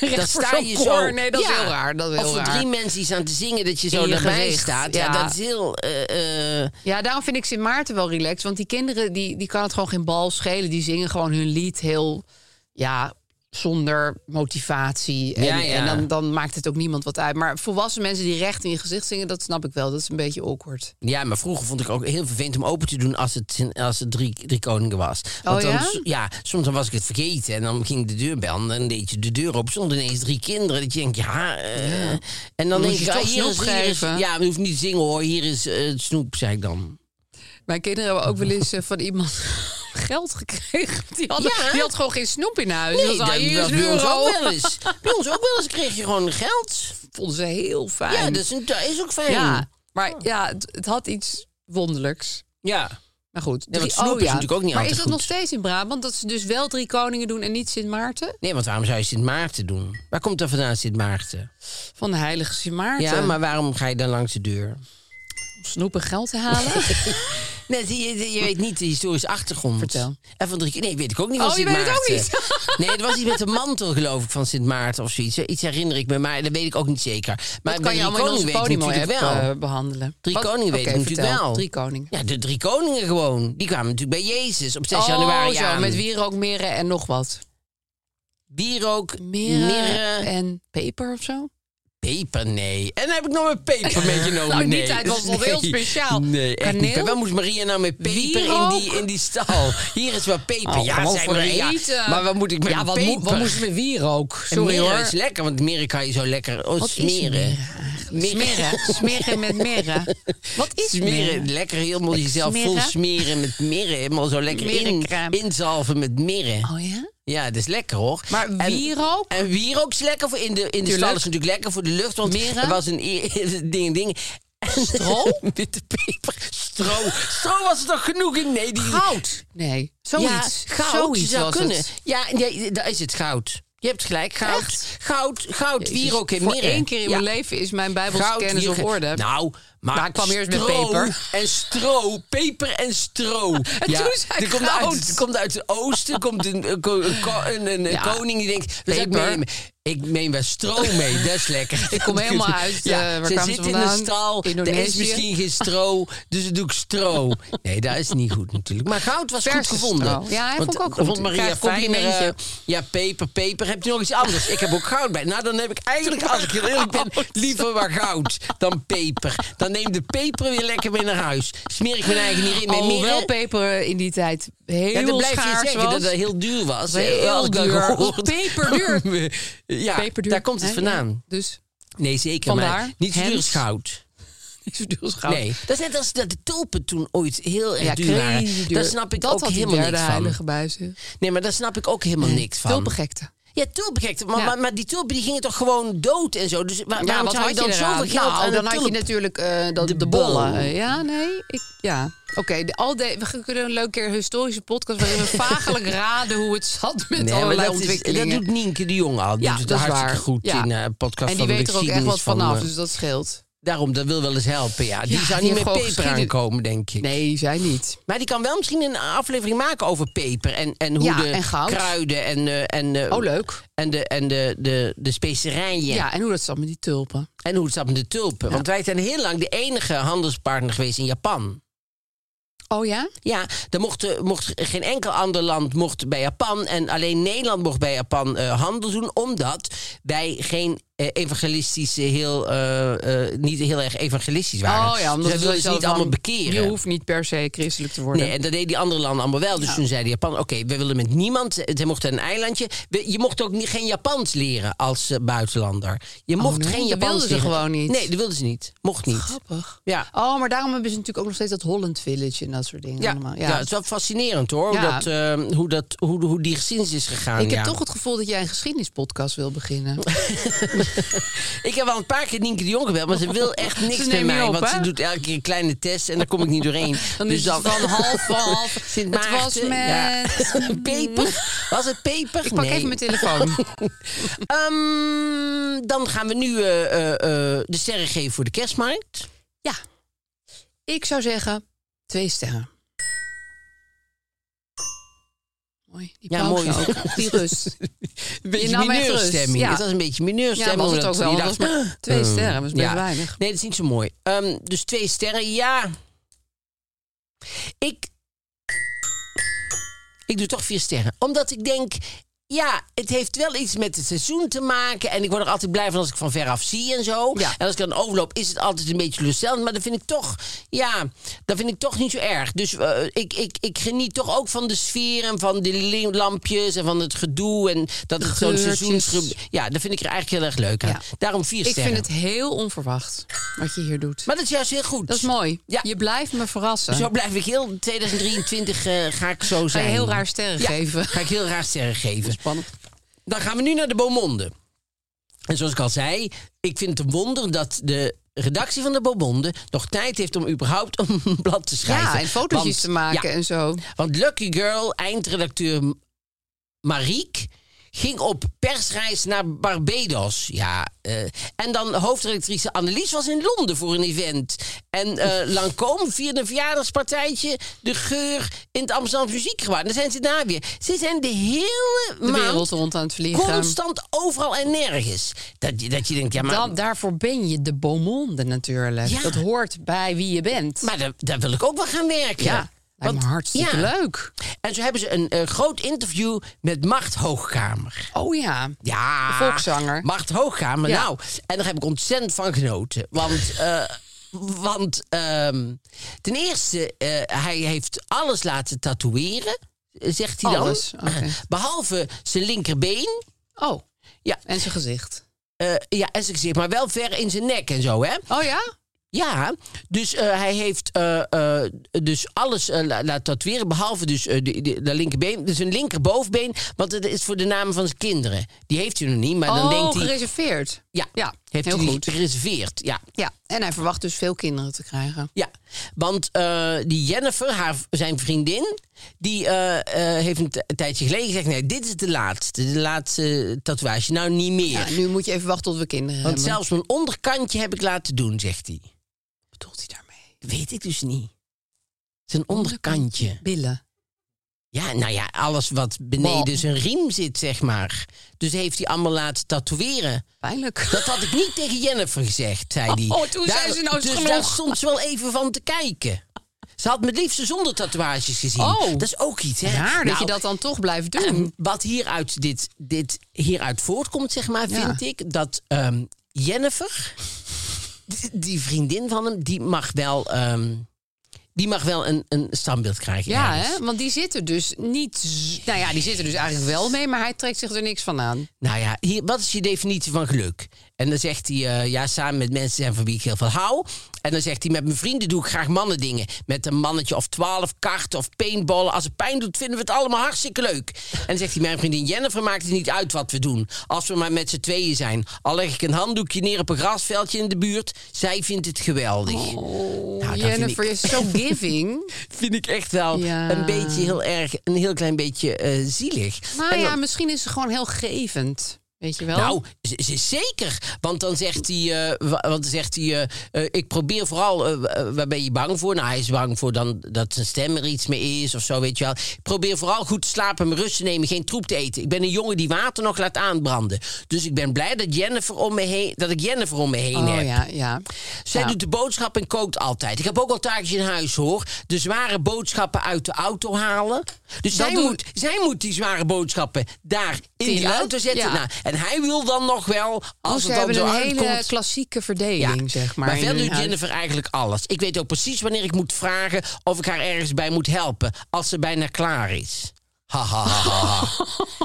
B: Dan
C: recht voor
B: sta
C: zo'n
B: je
C: koor,
B: zo.
C: Nee, dat is
B: Ja.
C: heel raar. Dat is heel
B: of voor
C: raar.
B: drie mensen die staan te zingen, dat je zo
C: In je
B: erbij
C: gezicht,
B: staat. Ja,
C: ja.
B: dat is heel. eh, eh,
C: Ja, daarom vind ik Sint Maarten wel relaxed. Want die kinderen, die, die kan het gewoon geen bal schelen. Die zingen gewoon hun lied heel, ja, zonder motivatie. En,
B: Ja, ja.
C: en dan, dan maakt het ook niemand wat uit. Maar volwassen mensen die recht in je gezicht zingen, dat snap ik wel. Dat is een beetje awkward.
B: ja, maar vroeger vond ik ook heel vervelend om open te doen als het, als het drie, drie koningen was.
C: Oh,
B: dan,
C: ja?
B: s- soms dan was ik het vergeten en dan ging de deurbel en dan deed je de deur op. Zonder ineens drie kinderen. Dat je denkt, ja. eh, En dan, denk
C: je
B: ik, ah,
C: toch
B: hier is,
C: snoep
B: hier is-
C: geven.
B: Ja, we hoeft niet te zingen hoor. Hier is eh, het snoep, zei ik dan.
C: Mijn kinderen hebben ook wel eens eh, van iemand *laughs* geld gekregen. Die, hadden,
B: Ja.
C: die had gewoon geen snoep in huis.
B: Nee,
C: Die was al,
B: dat,
C: hier
B: dat
C: is een
B: bij ons
C: euro.
B: ook wel eens. bij ons ook wel eens kreeg je gewoon geld.
C: Vonden ze heel fijn.
B: Ja, dus- dat is, een- dat is ook fijn.
C: Ja, maar ja, het, het had iets wonderlijks.
B: ja.
C: Maar goed, oh
B: want snoep is natuurlijk ook niet
C: Maar
B: altijd
C: is
B: goed.
C: dat nog steeds in Brabant dat ze dus wel drie koningen doen en niet Sint Maarten?
B: Nee, want waarom zou je Sint Maarten doen? Waar komt dat vandaan, Sint Maarten?
C: Van de heilige Sint Maarten.
B: Ja, maar waarom ga je dan langs de deur?
C: om snoepen geld te
B: *laughs*
C: halen.
B: Nee, je, je- je weet niet de historische achtergrond.
C: Vertel.
B: En van drie, nee, weet ik ook niet
C: Oh,
B: van
C: je
B: Sint
C: weet
B: Maarten.
C: het ook
B: niet. *laughs* Nee, er was iets met de mantel, geloof ik, van Sint Maarten of zoiets. Iets herinner ik me, maar dat weet ik ook niet zeker. Maar bij
C: dat kan je
B: Drie
C: allemaal in onze
B: Koningen weet ik
C: Podimo
B: natuurlijk
C: app
B: wel.
C: eh, behandelen.
B: Drie
C: Wat-
B: koningen weet
C: Oké,
B: ik natuurlijk
C: vertel.
B: wel.
C: Drie koningen.
B: Ja, de drie koningen gewoon. Die kwamen natuurlijk bij Jezus op 6
C: oh,
B: januari
C: zo,
B: aan.
C: met wierookmeren en nog wat.
B: Wierook,
C: Meren,
B: mirre,
C: en peper of zo?
B: peper, nee. En dan heb ik nog mijn peper
C: *laughs*
B: meegenomen.
C: Nou, in die
B: nee.
C: tijd was het nog heel speciaal.
B: Nee, echt niet.
C: Kaneel?
B: Waar moest Maria nou met peper in
C: Wierook?
B: die, in die stal? Hier is wat peper.
C: Oh,
B: ja,
C: gewoon
B: zei
C: voor
B: Maria.
C: eten.
B: Maar wat moet ik met
C: ja, wat,
B: peper?
C: moet- wat moest je met wierook? Sorry
B: en meren
C: hoor.
B: is lekker, want meren kan je zo lekker oh,
C: Wat is
B: smeren.
C: meren eigenlijk? Smeren. Smeren met meren. Wat is meren?
B: Smeren, lekker helemaal jezelf vol
C: Smeren?
B: smeren met mirre. Helemaal zo lekker in,
C: Merencrème.
B: inzalven met mirre.
C: Oh ja?
B: Ja, dat is lekker hoor.
C: Maar
B: En-
C: wierook?
B: En wierook is lekker voor in de, in de
C: Tuurlijk.
B: stal. is natuurlijk lekker voor de lucht. Want
C: Mirre?
B: er was een e- *laughs* ding, ding.
C: Stro?
B: *laughs* Witte peper. Stro. Stro was er toch genoeg in? Nee, die,
C: Goud. Nee, zoiets.
B: Ja, goud
C: zoiets
B: zou
C: was
B: kunnen.
C: het.
B: Ja, nee, daar is het goud. Je hebt gelijk, goud.
C: Echt?
B: Goud, goud,
C: Jezus,
B: wierook en
C: Voor
B: mirre.
C: één keer in mijn
B: Ja.
C: leven is mijn
B: Goud,
C: Bijbelskennis op
B: wierook en-
C: orde.
B: Nou, maar,
C: Maar ik kwam eerst met
B: stro
C: peper.
B: En stro, peper en stro.
C: *laughs* En toen zei
B: er komt
C: goud.
B: uit, er komt uit het oosten komt een, een, ko- een ko- een- een- een
C: Ja.
B: koning die denkt... Dus ik,
C: Peper.
B: meen, ik meen wel stro mee, dat is lekker.
C: *laughs* Ik
B: *laughs*
C: kom helemaal uit, eh, waar
B: ze
C: kwamen ze
B: zit in
C: vandaan?
B: een stal, er is
C: Indonesië.
B: misschien geen stro, dus dan doe ik
C: *laughs*
B: stro. Nee, dat is niet goed natuurlijk. Maar goud was goed
C: Verse
B: gevonden.
C: stro. Ja,
B: Want-
C: hij vond ik ook
B: vond
C: goed.
B: Maria
C: Krijg
B: fijner. eh,
C: complimentje.
B: ja, peper, peper. Heb je nog iets anders? Ik heb ook goud bij. Nou, dan heb ik eigenlijk, als ik heel eerlijk
C: *laughs*
B: ben, liever maar goud dan peper. Dan neem de peper weer lekker mee naar huis. Smeer ik mijn eigen hierin mee.
C: Alhoewel
B: Meer, hè?
C: peper in die tijd heel
B: ja, dan blijf je
C: schaars
B: zeggen
C: was.
B: dat eh, dat heel duur was.
C: Heel
B: Eh, had ik dan
C: duur.
B: gehoord. *laughs*
C: Peperduur.
B: ja,
C: Peperduur.
B: daar komt het
C: Hè?
B: vandaan.
C: Ja, Dus *laughs*
B: Nee, zeker. Maar
C: Vandaar,
B: niet zo duur
C: Hens.
B: als goud.
C: niet zo duur als goud.
B: Nee, dat is net als dat de tulpen toen ooit heel erg
C: Ja,
B: duur waren.
C: crazy duur.
B: Daar snap ik
C: dat
B: ook
C: had die
B: helemaal
C: derde
B: niks van.
C: heilige buizen.
B: Nee, maar daar snap ik ook helemaal niks van.
C: Tulpengekte.
B: Ja, tulpengekte. Maar,
C: Ja.
B: maar, maar die tulpen die gingen toch gewoon dood en zo. Dus wa- waarom
C: ja, wat
B: zou je
C: had
B: dan
C: je eraan?
B: zoveel geld
C: nou,
B: aan
C: dan
B: een
C: had je
B: tulp?
C: natuurlijk eh, dat,
B: De
C: de,
B: bollen.
C: bollen. Ja, nee. Ik, ja. Oké, de- al de- we kunnen een leuke keer een historische podcast... waarin we *laughs* vagelijk raden hoe het zat met
B: Nee, maar
C: allerlei
B: dat, is,
C: ontwikkelingen.
B: dat doet Nienke de Jong al. Die
C: Ja,
B: doet het
C: dat is
B: hartstikke
C: waar.
B: goed
C: Ja.
B: in eh podcast
C: en
B: van
C: die
B: de
C: weet er ook echt
B: geschiedenis
C: wat vanaf,
B: eh,
C: dus dat scheelt.
B: Daarom, dat wil wel eens helpen, ja. Die
C: Ja,
B: zou
C: die
B: niet met
C: heeft
B: peper
C: gewoon geschiedenis-
B: aankomen, denk ik.
C: Nee, zij niet.
B: Maar die kan wel misschien een aflevering maken over peper. En, en hoe
C: Ja,
B: de
C: en goud.
B: kruiden en, eh, en, eh,
C: Oh, leuk.
B: en, de, en de, de, de specerijen.
C: Ja. en hoe dat zat met die tulpen.
B: En hoe het zat met de tulpen. Want wij zijn heel lang de enige handelspartner geweest in Japan.
C: Oh ja?
B: Ja, er mocht, eh, mocht geen enkel ander land mocht bij Japan. En alleen Nederland mocht bij Japan eh, handel doen. Omdat wij geen eh, evangelistische, heel, eh, eh, niet heel erg evangelistisch waren.
C: Oh ja,
B: dus
C: omdat
B: wij
C: ze
B: wilden ze
C: zelf
B: niet allemaal
C: van,
B: bekeren.
C: Je hoeft niet per se christelijk te worden.
B: Nee, en dat deden die andere landen allemaal wel. Dus toen zeiden Japan, oké, we willen met niemand. eh, Ze mochten een eilandje. We- Je mocht ook niet, geen Japans leren als eh, buitenlander. Je mocht
C: Oh nee?
B: geen
C: Dat
B: Japans
C: wilden ze
B: leren.
C: gewoon niet.
B: Nee, dat wilden ze niet. Mocht niet.
C: Grappig.
B: Ja.
C: Oh, maar daarom hebben ze natuurlijk ook nog steeds dat Holland Village en dat soort dingen.
B: Ja,
C: allemaal.
B: ja. het is wel fascinerend hoor. Hoe,
C: Ja.
B: dat, eh, hoe, dat, hoe, hoe die geschiedenis is gegaan.
C: Ik
B: ja.
C: heb toch het gevoel dat jij een geschiedenispodcast wil
B: *laughs*
C: beginnen.
B: ik heb al een paar keer Nienke de Jong gebeld, maar ze
C: *laughs*
B: wil echt niks
C: Ze
B: met
C: neemt
B: mij.
C: niet op,
B: want ze
C: hè?
B: doet elke keer kleine tests en daar kom ik niet doorheen.
C: *laughs*
B: Dus
C: Dan is het van
B: *laughs*
C: half voor half.
B: Sint
C: Het was
B: Maarten, ja. *laughs*
C: met-
B: peper. Was het peper?
C: Ik pak
B: Nee.
C: even mijn telefoon.
B: *laughs* Ehm, dan gaan we nu eh, eh, eh, de sterren geven voor de kerstmarkt.
C: ja. Ik zou zeggen twee sterren. Mooi. Die
B: Ja,
C: ja, mooi.
B: mooi. *laughs*
C: ook. Die rust.
B: Een
C: beetje mineurstemming.
B: Ja.
C: Ja.
B: Het was een beetje
C: Ja,
B: mineurstemming.
C: was het
B: omdat
C: ook wel.
B: je
C: want
B: dacht,
C: dat was maar twee
B: ehm,
C: sterren was best
B: ja.
C: weinig.
B: Nee, dat is niet zo mooi. Ehm, dus twee sterren, ja. Ik... Ik doe toch vier sterren. Omdat ik denk... Ja, het heeft wel iets met het seizoen te maken. En ik word er altijd blij van als ik van veraf zie en zo.
C: Ja.
B: En als ik dan overloop, is het altijd een beetje teleurstellend. Maar dat vind ik toch, ja, dat vind ik toch niet zo erg. Dus eh, ik, ik, ik geniet toch ook van de sfeer en van de li- lampjes en van het gedoe. En dat het zo'n
C: Geurtjes.
B: seizoensgroep... Ja, dat vind ik er eigenlijk heel erg leuk aan.
C: Ja.
B: Daarom vier
C: Ik
B: sterren.
C: vind het heel onverwacht wat je hier doet.
B: Maar dat is juist heel goed.
C: dat is mooi.
B: Ja.
C: Je blijft me verrassen.
B: Zo blijf ik heel 2023 eh, ga ik zo
C: Ga
B: zijn.
C: je heel raar sterren
B: Ja,
C: geven.
B: Ga ik heel raar sterren geven.
C: Spannend.
B: Dan gaan we nu naar de Beaumonde. En zoals ik al zei, ik vind het een wonder dat de redactie van de Beaumonde nog tijd heeft om überhaupt *laughs* een blad te schrijven.
C: Ja, en fotootjes
B: Want-
C: te maken
B: ja,
C: en zo.
B: want Lucky Girl, eindredacteur M- Mariek, ging op persreis naar Barbados. Ja, eh, en dan hoofdredactrice Annelies was in Londen voor een event. En eh Lancôme vierde een verjaardagspartijtje De Geur in het Amsterdam Muziekgebouw. En daar zijn ze daar weer. Ze zijn de hele
C: De
B: maand
C: wereld rond aan het vliegen.
B: constant overal en nergens. Dat, je- dat je denkt, ja, maar...
C: Dan, daarvoor ben je de beaumonde natuurlijk.
B: Ja.
C: Dat hoort bij wie je bent.
B: maar daar, daar wil ik ook wel gaan werken.
C: ja, lijkt me hartstikke
B: ja.
C: leuk.
B: En zo hebben ze een eh, groot interview met Macht Hoogkamer.
C: Oh ja.
B: Ja.
C: De volkszanger.
B: Macht Hoogkamer.
C: Ja.
B: Nou, en daar heb ik ontzettend van genoten.
C: *laughs*
B: Want, eh, want ehm, ten eerste, eh, hij heeft alles laten tatoeëren, eh, zegt hij *clears throat*
C: Alles,
B: dan.
C: oké.
B: Behalve zijn linkerbeen.
C: Oh,
B: Ja,
C: en zijn gezicht.
B: eh, ja, en zijn gezicht, maar wel ver in zijn nek en zo, hè?
C: Oh ja?
B: Ja, dus eh, hij heeft eh, eh, dus alles eh, la- laten tatoeëren, behalve dus eh, de, de, de linkerbeen. Dus een linkerbovenbeen, want dat is voor de namen van zijn kinderen. Die heeft hij nog niet, maar dan
C: oh,
B: denkt hij...
C: gereserveerd.
B: Ja,
C: Ja,
B: heeft
C: heel
B: hij die
C: goed.
B: gereserveerd. Ja.
C: Ja, en hij verwacht dus veel kinderen te krijgen.
B: Ja, want eh, die Jennifer, haar, zijn vriendin, die eh, eh, heeft een, t- een tijdje geleden gezegd: nee, dit is de laatste, de laatste tatoeage. Nou, niet meer.
C: Ja, nu moet je even wachten tot we kinderen
B: want
C: hebben.
B: zelfs mijn onderkantje heb ik laten doen, zegt hij.
C: Wat bedoelt hij daarmee?
B: Weet ik dus niet. Zijn onderkantje.
C: Billen.
B: Ja, nou ja, alles wat beneden zijn riem zit, zeg maar. Dus heeft hij allemaal laten tatoeëren.
C: Pijnlijk.
B: Dat had ik niet tegen Jennifer gezegd, zei hij.
C: Oh, toen zei ze, nou, het is
B: Dus
C: genoeg.
B: daar stond ze wel even van te kijken. Ze had me het liefst zonder tatoeages gezien.
C: Oh.
B: Dat is ook iets,
C: *laughs*
B: hè?
C: Raar dat
B: Nou,
C: je dat dan toch blijft doen.
B: ehm, Wat hieruit, dit, dit hieruit voortkomt, zeg maar,
C: Ja.
B: vind ik... dat ehm, Jennifer, die- die vriendin van hem, die mag wel... ehm, die mag wel een, een standbeeld krijgen.
C: Ja,
B: ergens.
C: hè? want die zitten dus niet. z- Nou ja, die zitten dus eigenlijk wel mee, maar hij trekt zich er niks van aan.
B: Nou ja, hier, wat is je definitie van geluk? En dan zegt hij, eh, ja, samen met mensen zijn van wie ik heel veel hou. En dan zegt hij, met mijn vrienden doe ik graag mannendingen. Met een mannetje of twaalf, karten of paintballen. Als het pijn doet, vinden we het allemaal hartstikke leuk. En dan zegt hij, mijn vriendin Jennifer maakt het niet uit wat we doen. Als we maar met z'n tweeën zijn. Al leg ik een handdoekje neer op een grasveldje in de buurt. Zij vindt het geweldig. nou, dat vind
C: Oh, Jennifer
B: ik,
C: is zo giving.
B: *laughs* vind ik echt wel
C: Ja.
B: een beetje heel erg, een heel klein beetje eh, zielig.
C: Maar
B: En dan-
C: Nou ja, misschien is ze gewoon heel gevend. Weet je wel?
B: nou, ze, ze- zeker. Want dan zegt hij, eh, wa- want dan zegt hij eh, eh, ik probeer vooral, eh, wa- waar ben je bang voor? Nou, hij is bang voor dan dat zijn stem er iets mee is of zo, weet je wel. Ik probeer vooral goed te slapen, mijn rust te nemen, geen troep te eten. Ik ben een jongen die water nog laat aanbranden. Dus ik ben blij dat, Jennifer om me heen, dat ik Jennifer om me heen
C: oh
B: heb.
C: ja, ja.
B: Zij
C: Ja.
B: doet de boodschap en kookt altijd. Ik heb ook al taakjes in huis, hoor. De zware boodschappen uit de auto halen. Dus
C: Dat
B: zij
C: doe-
B: moet, zij moet die zware boodschappen daar in die
C: Tillen,
B: auto zetten.
C: ja.
B: Nou, en hij wil dan nog wel, als
C: Als ze
B: het dan
C: hebben
B: zo
C: een
B: uitkomt...
C: hele klassieke verdeling, zeg maar.
B: maar
C: in
B: verder
C: hun
B: doet
C: huis.
B: Jennifer eigenlijk alles. Ik weet ook precies wanneer ik moet vragen of ik haar ergens bij moet helpen. Als ze bijna klaar is. Ha, ha, ha, ha,
C: *laughs*
B: ha.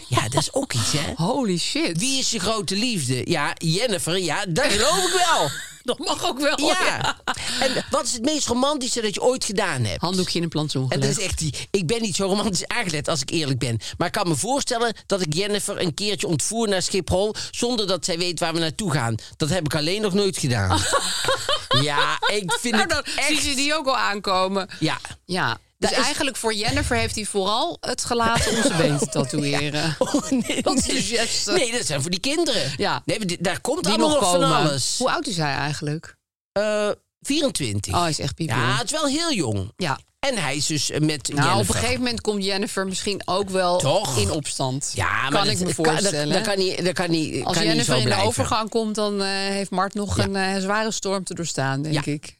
B: ja, dat is ook iets, hè?
C: Holy shit.
B: *laughs* Wie is je grote liefde? Ja, Jennifer. Ja,
C: *laughs*
B: dat geloof ik wel.
C: Dat mag ook wel.
B: Oh, Ja. En wat is het meest romantische dat je ooit gedaan hebt?
C: Handdoekje in een plantsoen
B: En
C: gelegd.
B: dat is echt die. Ik ben niet zo romantisch aangelegd als ik eerlijk ben. Maar ik kan me voorstellen dat ik Jennifer een keertje ontvoer naar Schiphol. zonder dat zij weet waar we naartoe gaan. Dat heb ik alleen nog nooit
C: *laughs*
B: gedaan. ja, ik vind
C: Nou,
B: het
C: dan
B: echt.
C: zien ze die ook al aankomen.
B: Ja.
C: Ja. Dus
B: is-
C: eigenlijk voor Jennifer heeft hij vooral het gelaten om zijn
B: *laughs*
C: been te tatoeëren.
B: Oh, nee,
C: Wat
B: nee.
C: suggestie.
B: nee, dat zijn voor die kinderen.
C: Ja.
B: Nee, maar di- daar komt
C: Die
B: allemaal
C: nog
B: nog van
C: komen.
B: alles.
C: Hoe oud is hij eigenlijk?
B: Eh, 24.
C: Oh, hij is echt piepjong.
B: ja, het is wel heel jong.
C: Ja.
B: En hij is dus eh, met
C: Nou, op
B: Jennifer.
C: een gegeven moment komt Jennifer misschien ook wel
B: Toch?
C: in opstand.
B: Ja, maar
C: kan
B: dat-
C: ik me
B: dat-
C: voorstellen.
B: Dat, dat kan niet, dat kan niet,
C: Als
B: kan niet
C: Jennifer
B: zo
C: in de
B: blijven.
C: overgang komt, dan eh, heeft Mart nog
B: Ja.
C: een eh, zware storm te doorstaan, denk
B: Ja.
C: ik.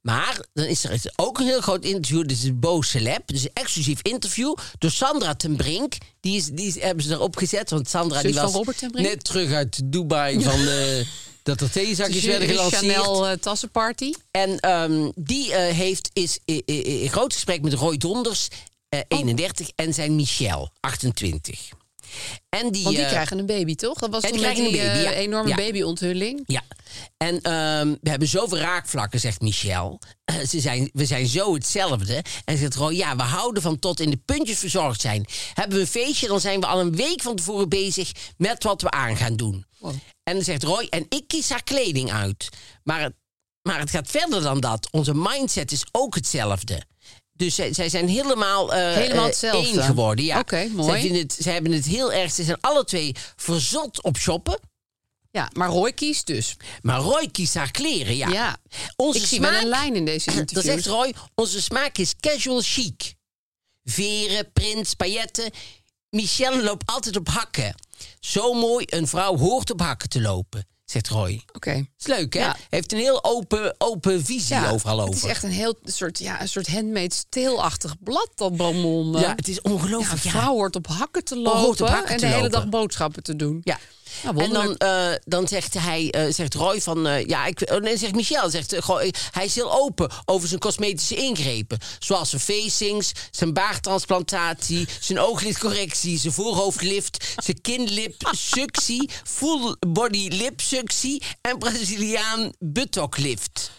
B: Maar dan is er dus ook een heel groot interview. Dit is het Bo Celeb. Dus een exclusief interview door Sandra ten Brink. Die, is, die is- hebben ze erop gezet. Want Sandra
C: Zus
B: die
C: van
B: was
C: Robert ten Brink?
B: net terug uit Dubai. Van, eh, dat er theezakjes
C: De
B: werden gelanceerd.
C: Chanel eh, tassenparty.
B: En ehm, die eh, heeft, is i- i- i- in groot gesprek met Roy Donders, eh,
C: Oh.
B: 31, en zijn Michel, 28. En die,
C: Want die
B: eh,
C: krijgen een baby, toch? Dat was
B: en
C: toen
B: die
C: met
B: krijgen
C: die
B: een baby,
C: eh,
B: ja.
C: enorme
B: Ja.
C: babyontthulling.
B: Ja, en ehm, we hebben zoveel raakvlakken, zegt Michel. Eh, ze zijn, we zijn zo hetzelfde. En zegt Roy, ja, we houden van tot in de puntjes verzorgd zijn. Hebben we een feestje, dan zijn we al een week van tevoren bezig met wat we aan gaan doen. En dan zegt Roy, en ik kies haar kleding uit. Maar het, maar het gaat verder dan dat. Onze mindset is ook hetzelfde. Dus zij, zij zijn helemaal, eh,
C: Helemaal
B: eh,
C: hetzelfde.
B: één geworden. Ja.
C: Oké,
B: Zij
C: mooi.
B: vinden het, zij hebben het heel erg. Ze zijn alle twee verzot op shoppen.
C: Ja, maar Roy kiest dus.
B: Maar Roy kiest haar kleren, ja.
C: Ja.
B: Onze
C: Ik zie
B: smaak,
C: wel een
B: *clears throat*
C: lijn in deze
B: dat
C: interviews.
B: zegt Roy, onze smaak is casual chic. Veren, prins, pailletten. Michelle loopt altijd op hakken. Zo mooi, een vrouw hoort op hakken te lopen, zegt Roy.
C: Oké.
B: Is leuk, hè?
C: Ja.
B: Heeft een heel open, open visie overal over.
C: Het is echt een heel soort, ja, een soort handmade tale-achtig blad, dat bonbon.
B: ja, het is
C: Ja, een
B: ongelooflijk. ja. Oh,
C: vrouw hoort op hakken te
B: hoort
C: lopen
B: op hakken
C: en
B: te
C: de hele
B: lopen.
C: dag boodschappen te doen.
B: Ja.
C: Ja,
B: en dan,
C: wonderlijk.
B: eh, dan zegt hij, eh, zegt Roy van, eh, ja, ik, oh, nee, zegt Michel, zegt, eh, goh, eh, hij is heel open over zijn cosmetische ingrepen. Zoals zijn facings, zijn baartransplantatie, zijn ooglidcorrectie, zijn voorhoofdlift, zijn kinlipsuctie, full body lipsuctie en Braziliaan buttoklift.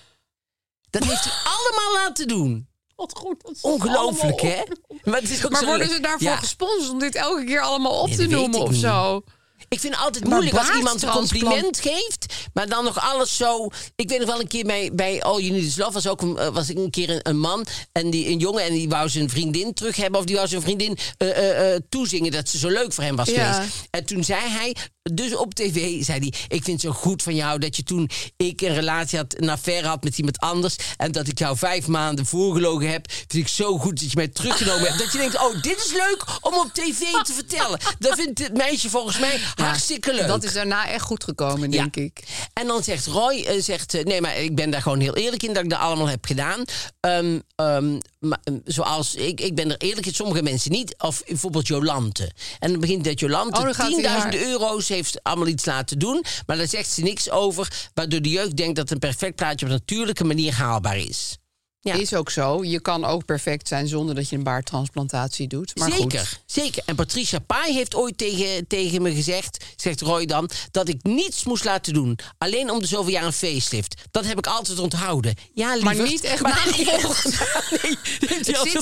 B: Dat heeft
C: *laughs*
B: hij allemaal laten doen.
C: Wat goed. dat is
B: Ongelooflijk,
C: allemaal
B: hè?
C: op.
B: Maar, het is ook
C: Maar
B: zo
C: worden
B: leuk.
C: ze daarvoor
B: Ja.
C: gesponsord om dit elke keer allemaal op
B: Nee,
C: te
B: dat weet
C: noemen
B: ik
C: of
B: niet.
C: zo?
B: Ik vind het altijd
C: Maar
B: moeilijk als iemand een
C: baardtransplant-
B: compliment geeft, maar dan nog alles zo. Ik weet nog wel een keer bij, bij All You Need Is Love was ook een, eh, was ik een keer een, een man en die een jongen en die wou zijn vriendin terug hebben of die wou zijn vriendin eh, eh, eh, toezingen dat ze zo leuk voor hem was
C: Ja.
B: geweest. En toen zei hij, dus op tv, zei hij: Ik vind het zo goed van jou dat je toen ik een relatie had, een affaire had met iemand anders. En dat ik jou vijf maanden voorgelogen heb. Vind ik zo goed dat je mij teruggenomen hebt. Dat je denkt: Oh, dit is leuk om op tv te vertellen. Dat vindt het meisje volgens mij hartstikke leuk.
C: Dat is daarna echt goed gekomen, denk ik.
B: En dan zegt Roy, eh, zegt, eh, nee, maar ik ben daar gewoon heel eerlijk in dat ik dat allemaal heb gedaan. Ehm, ehm, maar, ehm, zoals, ik, ik ben er eerlijk in, sommige mensen niet. Of bijvoorbeeld Jolante. En dan begint dat Jolante
C: Oh, dan gaat hij
B: 10.000
C: haar-
B: euro's heeft allemaal iets laten doen. Maar daar zegt ze niks over, waardoor de jeugd denkt dat een perfect plaatje op natuurlijke manier haalbaar is. Ja.
C: Is ook zo. Je kan ook perfect zijn zonder dat je een baartransplantatie doet. Maar goed.
B: zeker, zeker. En Patricia Pai heeft ooit tegen, tegen me gezegd, zegt Roy dan, dat ik niets moest laten doen. Alleen om de zoveel jaar een facelift. Dat heb ik altijd onthouden. Ja,
C: Maar
B: lieverd,
C: niet echt
B: maar niet
C: nagevolgd.
B: echt. *laughs*
C: *laughs*
B: Nee, die heeft hij
C: Het
B: altijd-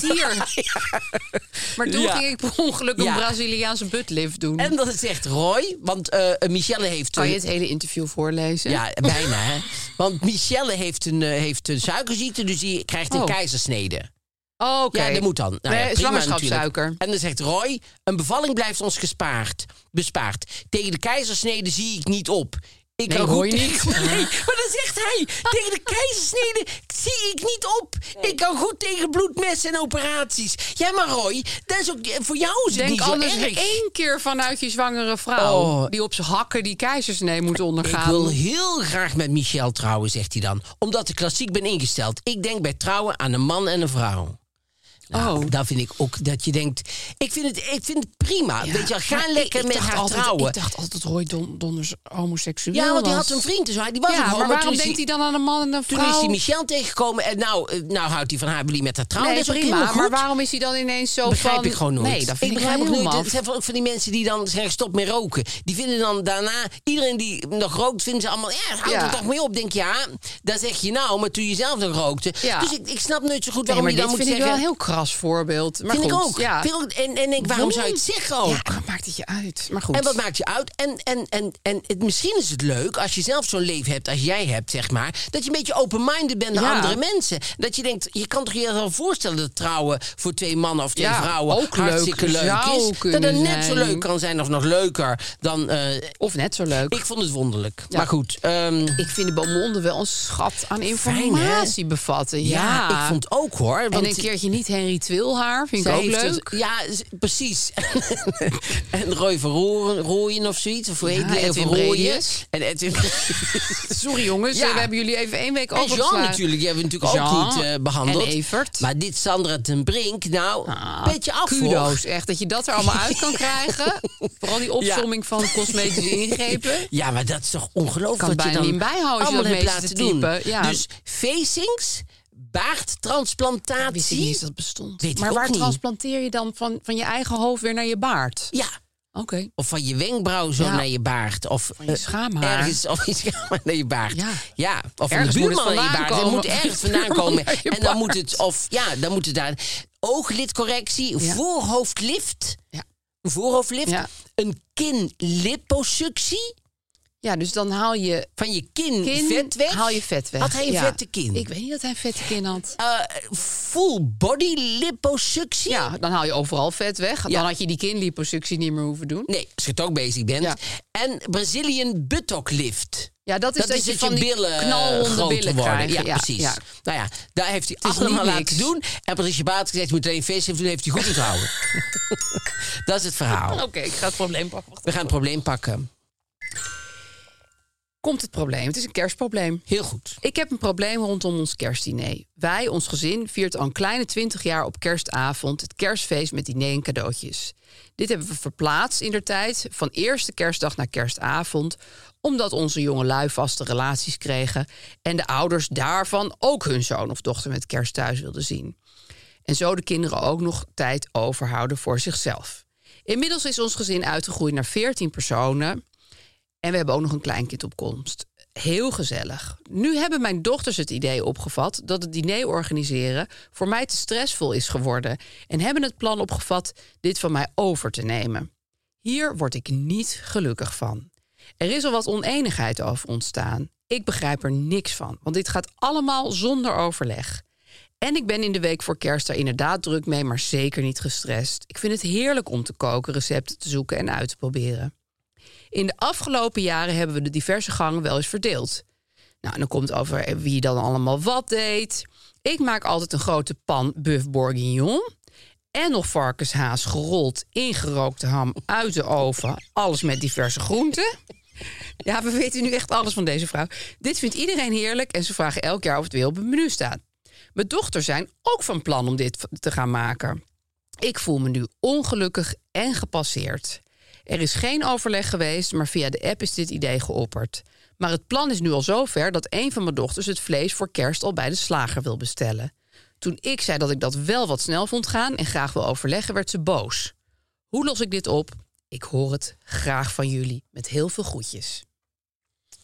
C: zit *laughs* hier. Maar toen
B: Ja.
C: ging ik per ongeluk een
B: Ja.
C: Braziliaanse buttlift doen.
B: En dat zegt Roy, want eh, Michelle heeft...
C: Kan Oh, je
B: een-
C: het hele interview voorlezen?
B: Ja, bijna. Hè? Want Michelle heeft een, eh, heeft een suikerziekte, dus die krijgt een
C: Oh.
B: keizersnede.
C: Oh, oké.
B: Ja, dat moet dan. Nou ja,
C: nee,
B: prima
C: zwangerschapssuiker.
B: natuurlijk. En dan zegt Roy, een bevalling blijft ons gespaard, bespaard. Tegen de keizersnede zie ik niet op. Ik
C: Nee,
B: kan
C: Roy
B: goed
C: niet.
B: tegen- *laughs* Nee, maar dan zegt hij, tegen de keizersnede zie ik niet op. Ik kan goed tegen bloedmessen en operaties. Ja, maar Roy, dat is ook, voor jou is het
C: Denk
B: niet zo
C: anders
B: erg.
C: één keer vanuit je zwangere vrouw...
B: Oh.
C: die op zijn hakken die keizersnee moet
B: Ik
C: ondergaan.
B: wil heel graag met Michel trouwen, zegt hij dan. Omdat ik klassiek ben ingesteld. Ik denk bij trouwen aan een man en een vrouw. Nou,
C: Oh.
B: Daar vind ik ook dat je denkt. Ik vind het, ik vind het prima.
C: Ja,
B: Weet je, wel, ga
C: maar
B: lekker
C: ik- ik
B: met
C: dacht
B: haar
C: altijd-
B: trouwen.
C: Ik dacht altijd Roy Don- Donders homoseksueel
B: ja, want die
C: was.
B: had een vriend, dus hij die was ook
C: Ja,
B: homo.
C: maar waarom
B: Toen is
C: denkt hij dan aan een man en een
B: Toen
C: vrouw?
B: is hij Michel tegengekomen en nou, eh, nou houdt hij van haar wil hij met haar trouwen.
C: Oh, Nee,
B: dat is ook
C: prima,
B: helemaal
C: maar
B: goed.
C: waarom is hij dan ineens zo
B: begrijp
C: van...
B: ik gewoon nooit.
C: Nee, dat vind ik,
B: begrijp
C: wel
B: ook
C: heel
B: nooit.
C: maf.
B: Het zijn ook van die mensen die dan zeggen stop met roken. Die vinden dan daarna, iedereen die nog rookt, vinden ze allemaal, ja, houd
C: Ja.
B: er toch mee op. Denk je, ja, dat zeg je nou, maar toen je zelf nog rookte.
C: Ja.
B: Dus ik, ik snap nooit zo goed
C: Nee,
B: waarom
C: maar
B: je
C: dit
B: dan moet
C: vind ik wel
B: zeggen.
C: een heel kras voorbeeld. Maar
B: vind ik
C: goed,
B: ook.
C: Ja.
B: Vind ik ook- En, en denk, waarom zou je het zeggen ook?
C: Ja, wat maakt het je uit? Maar goed.
B: En wat maakt je uit? En, en, en, en het, misschien is het leuk als je zelf zo'n leven hebt als jij hebt, zeg maar. Dat je een beetje open-minded bent naar
C: Ja.
B: andere mensen. Dat je denkt, je kan toch je wel voorstellen dat trouwen voor twee mannen of twee
C: Ja,
B: vrouwen
C: ook leuk
B: hartstikke leuk,
C: zou
B: is. Dat het
C: kunnen
B: net zo
C: zijn.
B: leuk kan zijn of nog leuker dan. eh,
C: Of net zo leuk.
B: ik
C: Ik,
B: vond het wonderlijk. Maar goed. ehm,
C: vind de Beaumonde wel een schat aan
B: hè?
C: informatie bevatten. Ja,
B: ja. ik vond ook hoor. Want
C: En een keertje niet Henry Twilhaar, vind ik
B: zij
C: ook
B: heeft
C: leuk.
B: het- ja, z- precies. *laughs* en Roy van Rooyen, Rooyen of zoiets. Of hoe heet
C: Ja,
B: die?
C: Edwin
B: Van Rooyen.
C: Bredius.
B: En Edwin
C: Sorry jongens,
B: Ja.
C: we hebben jullie even één week
B: En Jean
C: overgeslagen.
B: natuurlijk, die hebben we natuurlijk ook
C: Jean
B: niet eh, behandeld.
C: en Evert.
B: Maar dit Sandra ten Brink, nou,
C: Ah,
B: petje af
C: Kudo's, *laughs*
B: hoor.
C: echt. Dat je dat er allemaal
B: *laughs*
C: uit kan krijgen. Vooral die opzomming van cosmetische ingrepen.
B: Ja, maar dat is toch
C: Kan
B: ongelooflijk wat je
C: bijna
B: dan
C: niet bijhouden als je
B: allemaal
C: dat
B: hebt
C: meeste
B: laten doen.
C: typen. Ja.
B: Dus facings,
C: Wist
B: baardtransplantatie.
C: ik niet eens dat bestond.
B: Weet ik
C: maar
B: ook
C: waar
B: niet.
C: transplanteer je dan van, van je eigen hoofd weer naar je baard?
B: ja.
C: Oké.
B: Of van je wenkbrauw zo
C: Ja.
B: naar je baard. Of
C: je
B: eh,
C: schaamhaar.
B: Ergens, of je schaamhaar naar je baard.
C: Ja.
B: Of van de
C: Ergens moet
B: buurman
C: het
B: naar je
C: vandaan
B: baard. Het
C: komen.
B: moet ergens
C: *laughs*
B: vandaan komen.
C: Naar je
B: En dan moet
C: baard.
B: het, of ja, dan moet het daar ooglidcorrectie,
C: Ja.
B: voorhoofdlift.
C: Ja.
B: Een voorhoofdlift.
C: Ja.
B: Een kinliposuctie.
C: Ja, dus dan haal je
B: Van je kin,
C: kin,
B: vet weg.
C: haal je vet weg.
B: Had hij een
C: Ja.
B: vette kin?
C: Ik weet niet dat hij een vette kin had.
B: Eh, full body liposuctie.
C: Ja, dan haal je overal vet weg. Dan
B: Ja.
C: had je die kinliposuctie niet meer hoeven doen.
B: Nee, als je toch bezig bent.
C: Ja.
B: En Brazilian buttock lift.
C: Ja, dat is dat, je van die
B: billen eh,
C: knalronde
B: groter
C: billen
B: worden.
C: krijgt.
B: Ja, precies.
C: ja.
B: Nou ja, daar heeft hij
C: is
B: allemaal
C: niet
B: laten
C: niks.
B: doen. En Patricia Baat gezegd, je moet alleen feest hebben, toen heeft hij goed *laughs* onthouden. dat is het verhaal.
C: Oké, ik ga het probleem pakken. Wacht.
B: We gaan het probleem pakken.
C: Komt het probleem? Het is een kerstprobleem.
B: Heel goed.
C: Ik heb een probleem rondom ons kerstdiner. Wij, ons gezin, viert al een kleine 20 jaar op kerstavond het kerstfeest met diner en cadeautjes. Dit hebben we verplaatst in de tijd van eerste kerstdag naar kerstavond, omdat onze jonge lui vaste relaties kregen en de ouders daarvan ook hun zoon of dochter met kerst thuis wilden zien. En zo de kinderen ook nog tijd overhouden voor zichzelf. Inmiddels is ons gezin uitgegroeid naar 14 personen. En we hebben ook nog een kleinkind op komst. Heel gezellig. Nu hebben mijn dochters het idee opgevat dat het diner organiseren voor mij te stressvol is geworden. En hebben het plan opgevat dit van mij over te nemen. Hier word ik niet gelukkig van. Er is al wat oneenigheid over ontstaan. Ik begrijp er niks van, want dit gaat allemaal zonder overleg. En ik ben in de week voor kerst daar inderdaad druk mee, maar zeker niet gestrest. Ik vind het heerlijk om te koken, recepten te zoeken en uit te proberen. In de afgelopen jaren hebben we de diverse gangen wel eens verdeeld. Nou, en dan komt het over wie dan allemaal wat deed. Ik maak altijd een grote pan bœuf bourguignon. En nog varkenshaas gerold, ingerookte ham uit de oven. Alles met diverse groenten. Ja, we weten nu echt alles van deze vrouw. Dit vindt iedereen heerlijk en ze vragen elk jaar of het weer op het menu staat. Mijn dochters zijn ook van plan om dit v- te gaan maken. Ik voel me nu ongelukkig en gepasseerd. Er is geen overleg geweest, maar via de app is dit idee geopperd. Maar het plan is nu al zover dat een van mijn dochters het vlees voor kerst al bij de slager wil bestellen. Toen ik zei dat ik dat wel wat snel vond gaan en graag wil overleggen, werd ze boos. Hoe los ik dit op? Ik hoor het graag van jullie. Met heel veel groetjes.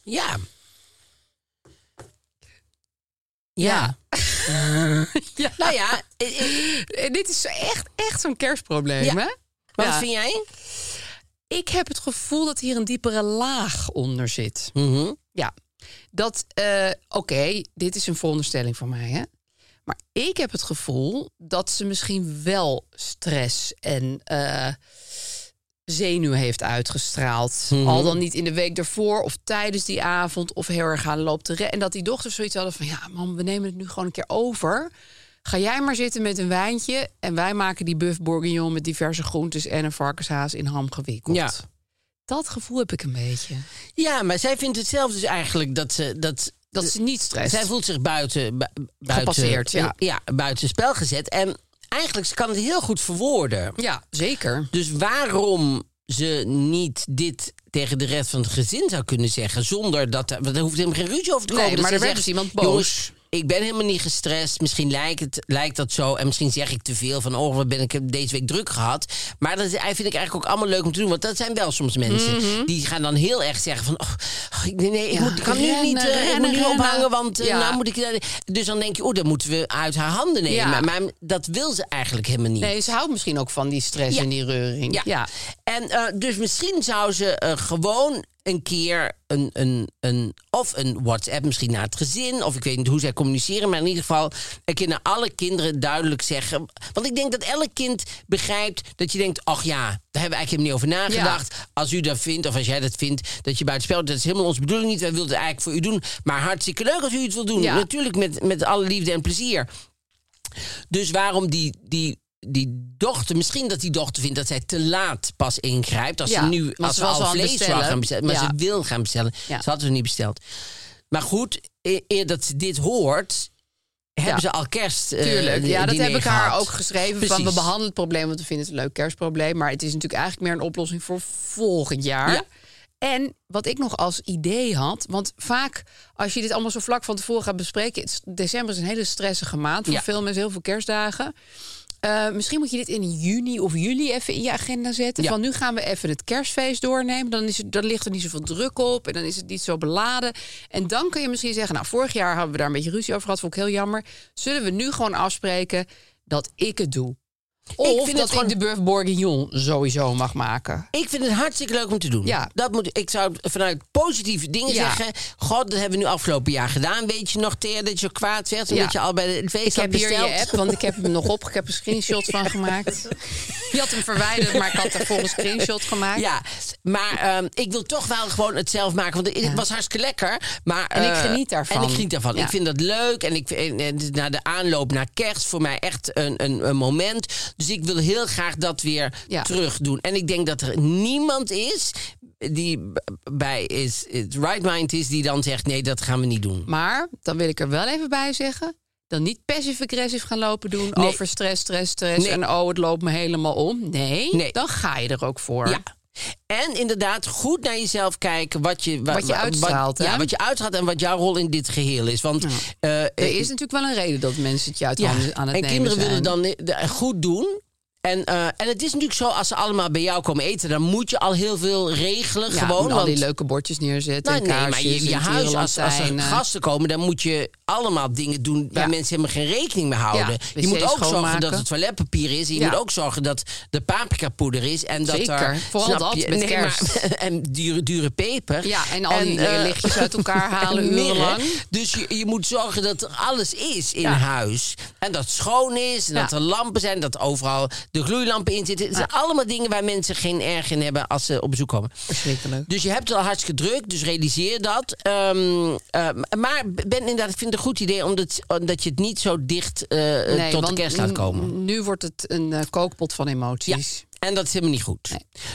B: Ja.
C: Ja. ja.
B: Nou ja, eh, eh,
C: En dit is echt, echt zo'n kerstprobleem,
B: Ja.
C: hè?
B: wat
C: Ja.
B: vind jij?
C: Ik heb het gevoel dat hier een diepere laag onder zit.
B: Mhm.
C: Ja, dat, eh, oké, dit is een veronderstelling van mij, hè? Maar ik heb het gevoel dat ze misschien wel stress en eh, zenuw heeft uitgestraald.
B: Mhm.
C: Al dan niet in de week daarvoor of tijdens die avond of heel erg aan loopt te rennen. En dat die dochters zoiets hadden van, ja man, we nemen het nu gewoon een keer over. Ga jij maar zitten met een wijntje en wij maken die buff bourguignon met diverse groentes en een varkenshaas in ham gewikkeld.
B: Ja.
C: Dat gevoel heb ik een beetje.
B: Ja, maar zij vindt het zelf dus eigenlijk dat ze... Dat, eh,
C: Dat ze niet stress.
B: zij voelt zich buiten... bu- buiten
C: Gepasseerd, ja.
B: Ja, buiten spel gezet. En eigenlijk, ze kan het heel goed verwoorden.
C: Ja, zeker.
B: Dus waarom ze niet dit tegen de rest van het gezin zou kunnen zeggen... zonder dat... er- Want er hoeft helemaal geen ruzie over te komen.
C: Nee, maar
B: ze
C: er werd
B: zegt,
C: dus iemand boos.
B: "Jongens, ik ben helemaal niet gestrest. Misschien lijkt, het, lijkt dat zo. En misschien zeg ik te veel van... oh, wat ben ik deze week druk gehad. Maar dat is- vind ik eigenlijk ook allemaal leuk om te doen. Want dat zijn wel soms mensen... die gaan dan heel erg zeggen van... Oh, oh, ik- nee, nee, ik
C: Mhm. Ja,
B: moet, ik kan
C: rennen,
B: nu niet, eh, ik
C: rennen,
B: moet nu
C: rennen.
B: ophangen... want eh,
C: Ja.
B: nou moet ik... Dus dan denk je, oh, dat moeten we uit haar handen nemen.
C: Ja.
B: Maar dat wil ze eigenlijk helemaal niet.
C: Nee, ze houdt misschien ook van die stress
B: Ja.
C: en die reuring.
B: Ja. En eh, dus misschien zou ze eh, gewoon een keer een, een, een, of een WhatsApp misschien naar het gezin, of ik weet niet hoe zij communiceren, maar in ieder geval een keer naar alle kinderen duidelijk zeggen. Want ik denk dat elk kind begrijpt dat je denkt, ach ja, daar hebben we eigenlijk helemaal niet over nagedacht. Als u dat vindt, of als jij dat vindt, dat je buiten spel, dat is helemaal onze bedoeling niet. Wij wilden het eigenlijk voor u doen, maar hartstikke leuk als u het wil doen.
C: Ja.
B: Natuurlijk met, met alle liefde en plezier. Dus waarom die, die, die dochter, misschien dat die dochter vindt dat zij te laat pas ingrijpt. Als
C: Ja,
B: ze nu,
C: want
B: als
C: ze
B: ze
C: was
B: al
C: al aan
B: vlees
C: het
B: zou
C: bestellen.
B: gaan bestellen. Maar
C: Ja.
B: ze wil gaan bestellen.
C: Ja.
B: Ze had het niet besteld. Maar goed, e- eer dat ze dit hoort, hebben
C: Ja.
B: ze al kerst. eh,
C: Tuurlijk. ja, dat
B: diner
C: heb ik haar
B: gehad.
C: ook geschreven. Van
B: Precies.
C: we behandelen het probleem, want we vinden het een leuk kerstprobleem. Maar het is natuurlijk eigenlijk meer een oplossing voor volgend jaar.
B: Ja.
C: En wat ik nog als idee had, want vaak als je dit allemaal zo vlak van tevoren gaat bespreken, het is- december is een hele stressige maand voor
B: Ja.
C: veel mensen, heel veel kerstdagen. Eh, misschien moet je dit in juni of juli even in je agenda zetten.
B: Ja.
C: Van nu gaan we even het kerstfeest doornemen. Dan, is het, dan ligt er niet zoveel druk op. En dan is het niet zo beladen. En dan kun je misschien zeggen... nou, vorig jaar hebben we daar een beetje ruzie over gehad. Vond ik heel jammer. Zullen we nu gewoon afspreken dat ik het doe?
B: vind
C: Of
B: het
C: dat
B: gewoon-
C: ik de Burf Bourguignon sowieso mag maken.
B: Ik vind het hartstikke leuk om te doen.
C: Ja.
B: Dat moet, ik zou vanuit positieve dingen
C: Ja.
B: zeggen. God, dat hebben we nu afgelopen jaar gedaan. Weet je nog, Thea, dat je zo kwaad werd? Omdat
C: Ja.
B: je al bij de feest
C: Ik
B: had
C: heb hier
B: besteld.
C: je app, want ik heb hem nog op. Ik heb een screenshot van
B: *laughs*
C: gemaakt. Je had hem verwijderd, maar ik had daarvoor een screenshot gemaakt.
B: Ja, maar ehm, ik wil toch wel gewoon het zelf maken. Want het was hartstikke lekker. Maar,
C: En ik
B: eh,
C: geniet daarvan.
B: En ik geniet daarvan.
C: Ja.
B: Ik vind dat leuk. En ik vind en het- na de aanloop naar kerst voor mij echt een, een, een moment. Dus ik wil heel graag dat weer
C: Ja.
B: terug doen. En ik denk dat er niemand is die b- bij is, het right mind is, die dan zegt: nee, dat gaan we niet doen.
C: Maar dan wil ik er wel even bij zeggen. Dan niet passive-agressief gaan lopen doen
B: Nee.
C: over stress, stress, stress.
B: Nee.
C: En oh, het loopt me helemaal om. Nee,
B: Nee.
C: dan ga je er ook voor.
B: Ja. En inderdaad, goed naar jezelf kijken wat je,
C: Wat je uitstraalt,
B: wat-
C: hè?
B: ja, wat je uitstraalt en wat jouw rol in dit geheel is. Want eh,
C: Er is natuurlijk wel een reden dat mensen het je uit handen aan het
B: en
C: nemen
B: kinderen
C: zijn.
B: willen dan de- goed doen. En, eh, en het is natuurlijk zo, als ze allemaal bij jou komen eten, dan moet je al heel veel regelen.
C: Ja,
B: gewoon,
C: en al
B: want-
C: die leuke bordjes neerzetten
B: nou,
C: en
B: nee,
C: kaarsjes
B: maar je, je
C: en
B: huis, als, als er
C: tierenlantijnen.
B: gasten komen, dan moet je allemaal dingen doen waar
C: Ja.
B: mensen helemaal geen rekening mee houden.
C: Ja,
B: je moet
C: wc's
B: ook zorgen
C: schoonmaken.
B: dat het toiletpapier is. En je
C: Ja.
B: moet ook zorgen dat de paprika poeder is. En dat
C: Zeker,
B: er,
C: vooral
B: snap
C: dat
B: je?
C: met
B: Nee,
C: kerst.
B: maar- *laughs* en dure, dure peper.
C: Ja, en al die
B: eh,
C: lichtjes uit
B: *laughs*
C: elkaar halen
B: en mirre.
C: urenlang.
B: Dus je, je moet zorgen dat er alles is in
C: Ja.
B: huis. En dat het schoon is, en
C: Ja.
B: dat er lampen zijn, dat overal de gloeilampen in zitten. Het zijn allemaal dingen waar mensen geen erg in hebben als ze op bezoek komen.
C: Verschrikkelijk.
B: Dus je hebt het al hartstikke druk, dus realiseer dat. Ehm, ehm, maar ben inderdaad, ik vind het een goed idee omdat, omdat je het niet zo dicht eh,
C: Nee,
B: tot de
C: want mm,
B: kerst laat
C: n-
B: komen.
C: Nu wordt het een eh, kookpot van emoties.
B: En dat is helemaal niet goed.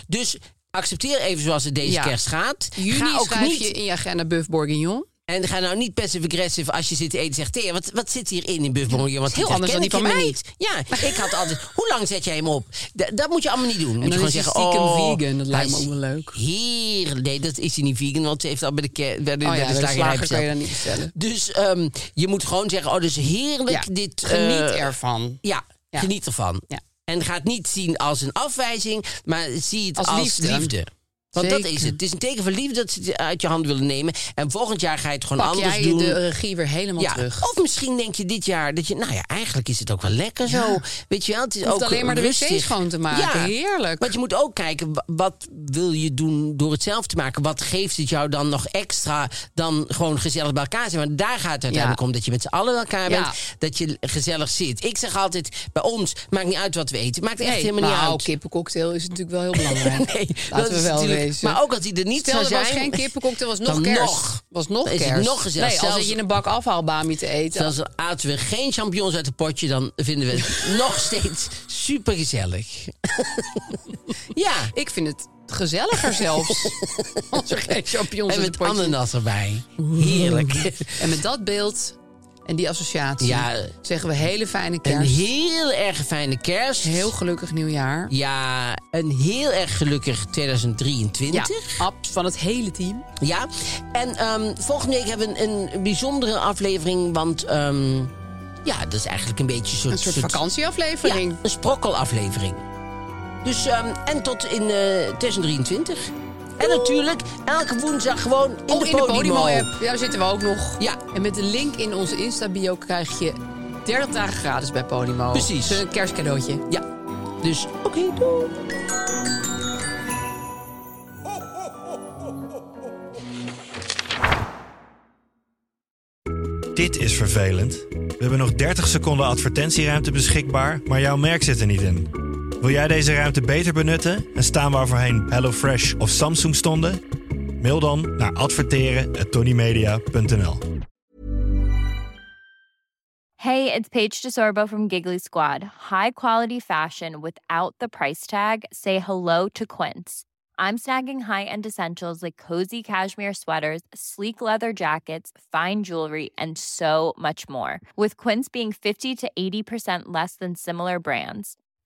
B: Dus accepteer even zoals het deze
C: Ja.
B: kerst gaat.
C: Juni
B: Ga ook
C: schrijf
B: niet
C: je in je agenda Buff Bourguignon.
B: En ga nou niet passive-aggressive als je zit te eten. Zegt, "Thea, wat, wat zit hierin in buffelhonger? Want
C: heel
B: dit
C: anders dan
B: herken
C: die
B: ik
C: van
B: helemaal Niet. Ja, ik had altijd... Hoe lang zet jij hem op? D- dat moet je allemaal niet doen. Moet
C: dan
B: je gewoon
C: is hij
B: zeggen,
C: stiekem
B: oh,
C: vegan. Dat lijkt
B: hij
C: me
B: is
C: ook wel leuk.
B: Heerlijk. Nee, dat is hij niet vegan, want ze heeft al bij de, ke- bij de,
C: Oh
B: bij
C: ja,
B: de
C: bij de
B: slagerij
C: slager kan je
B: besteld.
C: dat niet bestellen.
B: Dus ehm, je moet gewoon zeggen, oh, dus heerlijk. dit, eh,
C: geniet ervan.
B: Ja,
C: Ja.
B: geniet ervan.
C: Ja.
B: En ga het niet zien als een afwijzing, maar zie het als,
C: Als
B: liefde.
C: liefde.
B: Want dat
C: Zeker.
B: is het. Het is een teken van liefde dat ze het uit je hand willen nemen. En volgend jaar ga je het gewoon
C: Pak
B: anders
C: jij
B: doen.
C: de regie weer helemaal
B: ja.
C: terug.
B: Of misschien denk je dit jaar dat je, nou ja, eigenlijk is het ook wel lekker zo. Weet je wel, het is
C: hoeft
B: ook
C: alleen maar de
B: rustig.
C: wc schoon te maken.
B: Ja.
C: Heerlijk.
B: Want je moet ook kijken, wa- wat wil je doen door het zelf te maken? Wat geeft het jou dan nog extra dan gewoon gezellig bij elkaar zijn? Want daar gaat het uiteindelijk
C: Ja.
B: om, dat je met z'n allen bij elkaar
C: Ja.
B: bent. Dat je gezellig zit. Ik zeg altijd, bij ons maakt niet uit wat we eten. Maakt echt
C: Nee,
B: helemaal niet
C: nou,
B: uit.
C: kippencocktail is natuurlijk wel heel *laughs* belangrijk.
B: *laughs* Nee,
C: Laten we
B: is
C: wel
B: natuurlijk-
C: wezen.
B: Maar ook als die er niet
C: Stel,
B: zou
C: er
B: zijn...
C: was geen kippencocktail, *laughs* was nog
B: dan
C: kerst.
B: nog.
C: Was nog
B: Dan is het
C: kerst.
B: nog gezellig.
C: Nee, als
B: Zelfs-
C: zit je in een bak afhaalbami te eten.
B: Zelfs al aten we geen champignons uit het potje, dan vinden we het
C: *laughs*
B: nog steeds supergezellig. ja,
C: Ik vind het gezelliger *laughs* zelfs. als er geen champignons
B: en
C: in het
B: met
C: potje
B: ananas erbij. Heerlijk.
C: En met dat beeld en die associatie
B: Ja.
C: zeggen we hele fijne
B: Een
C: kerst.
B: heel erg fijne kerst.
C: Heel gelukkig nieuwjaar.
B: Ja, een heel erg gelukkig 2023.
C: Ja, abs van het hele team.
B: Ja. En ehm, volgende week hebben we een, een bijzondere aflevering. Want ehm, ja, dat is eigenlijk een beetje een soort,
C: Een soort
B: soort- Ja,
C: vakantieaflevering.
B: een sprokkelaflevering. Dus, ehm, en tot in eh 2023. En natuurlijk, elke woensdag gewoon in
C: Oh,
B: de
C: in de
B: Podimo.
C: Podimo-app. Daar zitten we ook nog.
B: Ja.
C: En met de link in onze Insta-bio krijg je 30 dagen gratis bij Podimo.
B: Precies.
C: Een kerstcadeautje.
B: ja, dus oké, doei.
D: Dit is vervelend. We hebben nog 30 seconden advertentieruimte beschikbaar, maar jouw merk zit er niet in. Wil jij deze ruimte beter benutten en staan waar voorheen HelloFresh of Samsung stonden? Mail dan naar adverteren@tonymedia.nl.
E: Hey, it's Paige DeSorbo from Giggly Squad. High quality fashion without the price tag. Say hello to Quince. I'm snagging high-end essentials like cozy cashmere sweaters, sleek leather jackets, fine jewelry, and so much more. With Quince being 50 to 80% less than similar brands.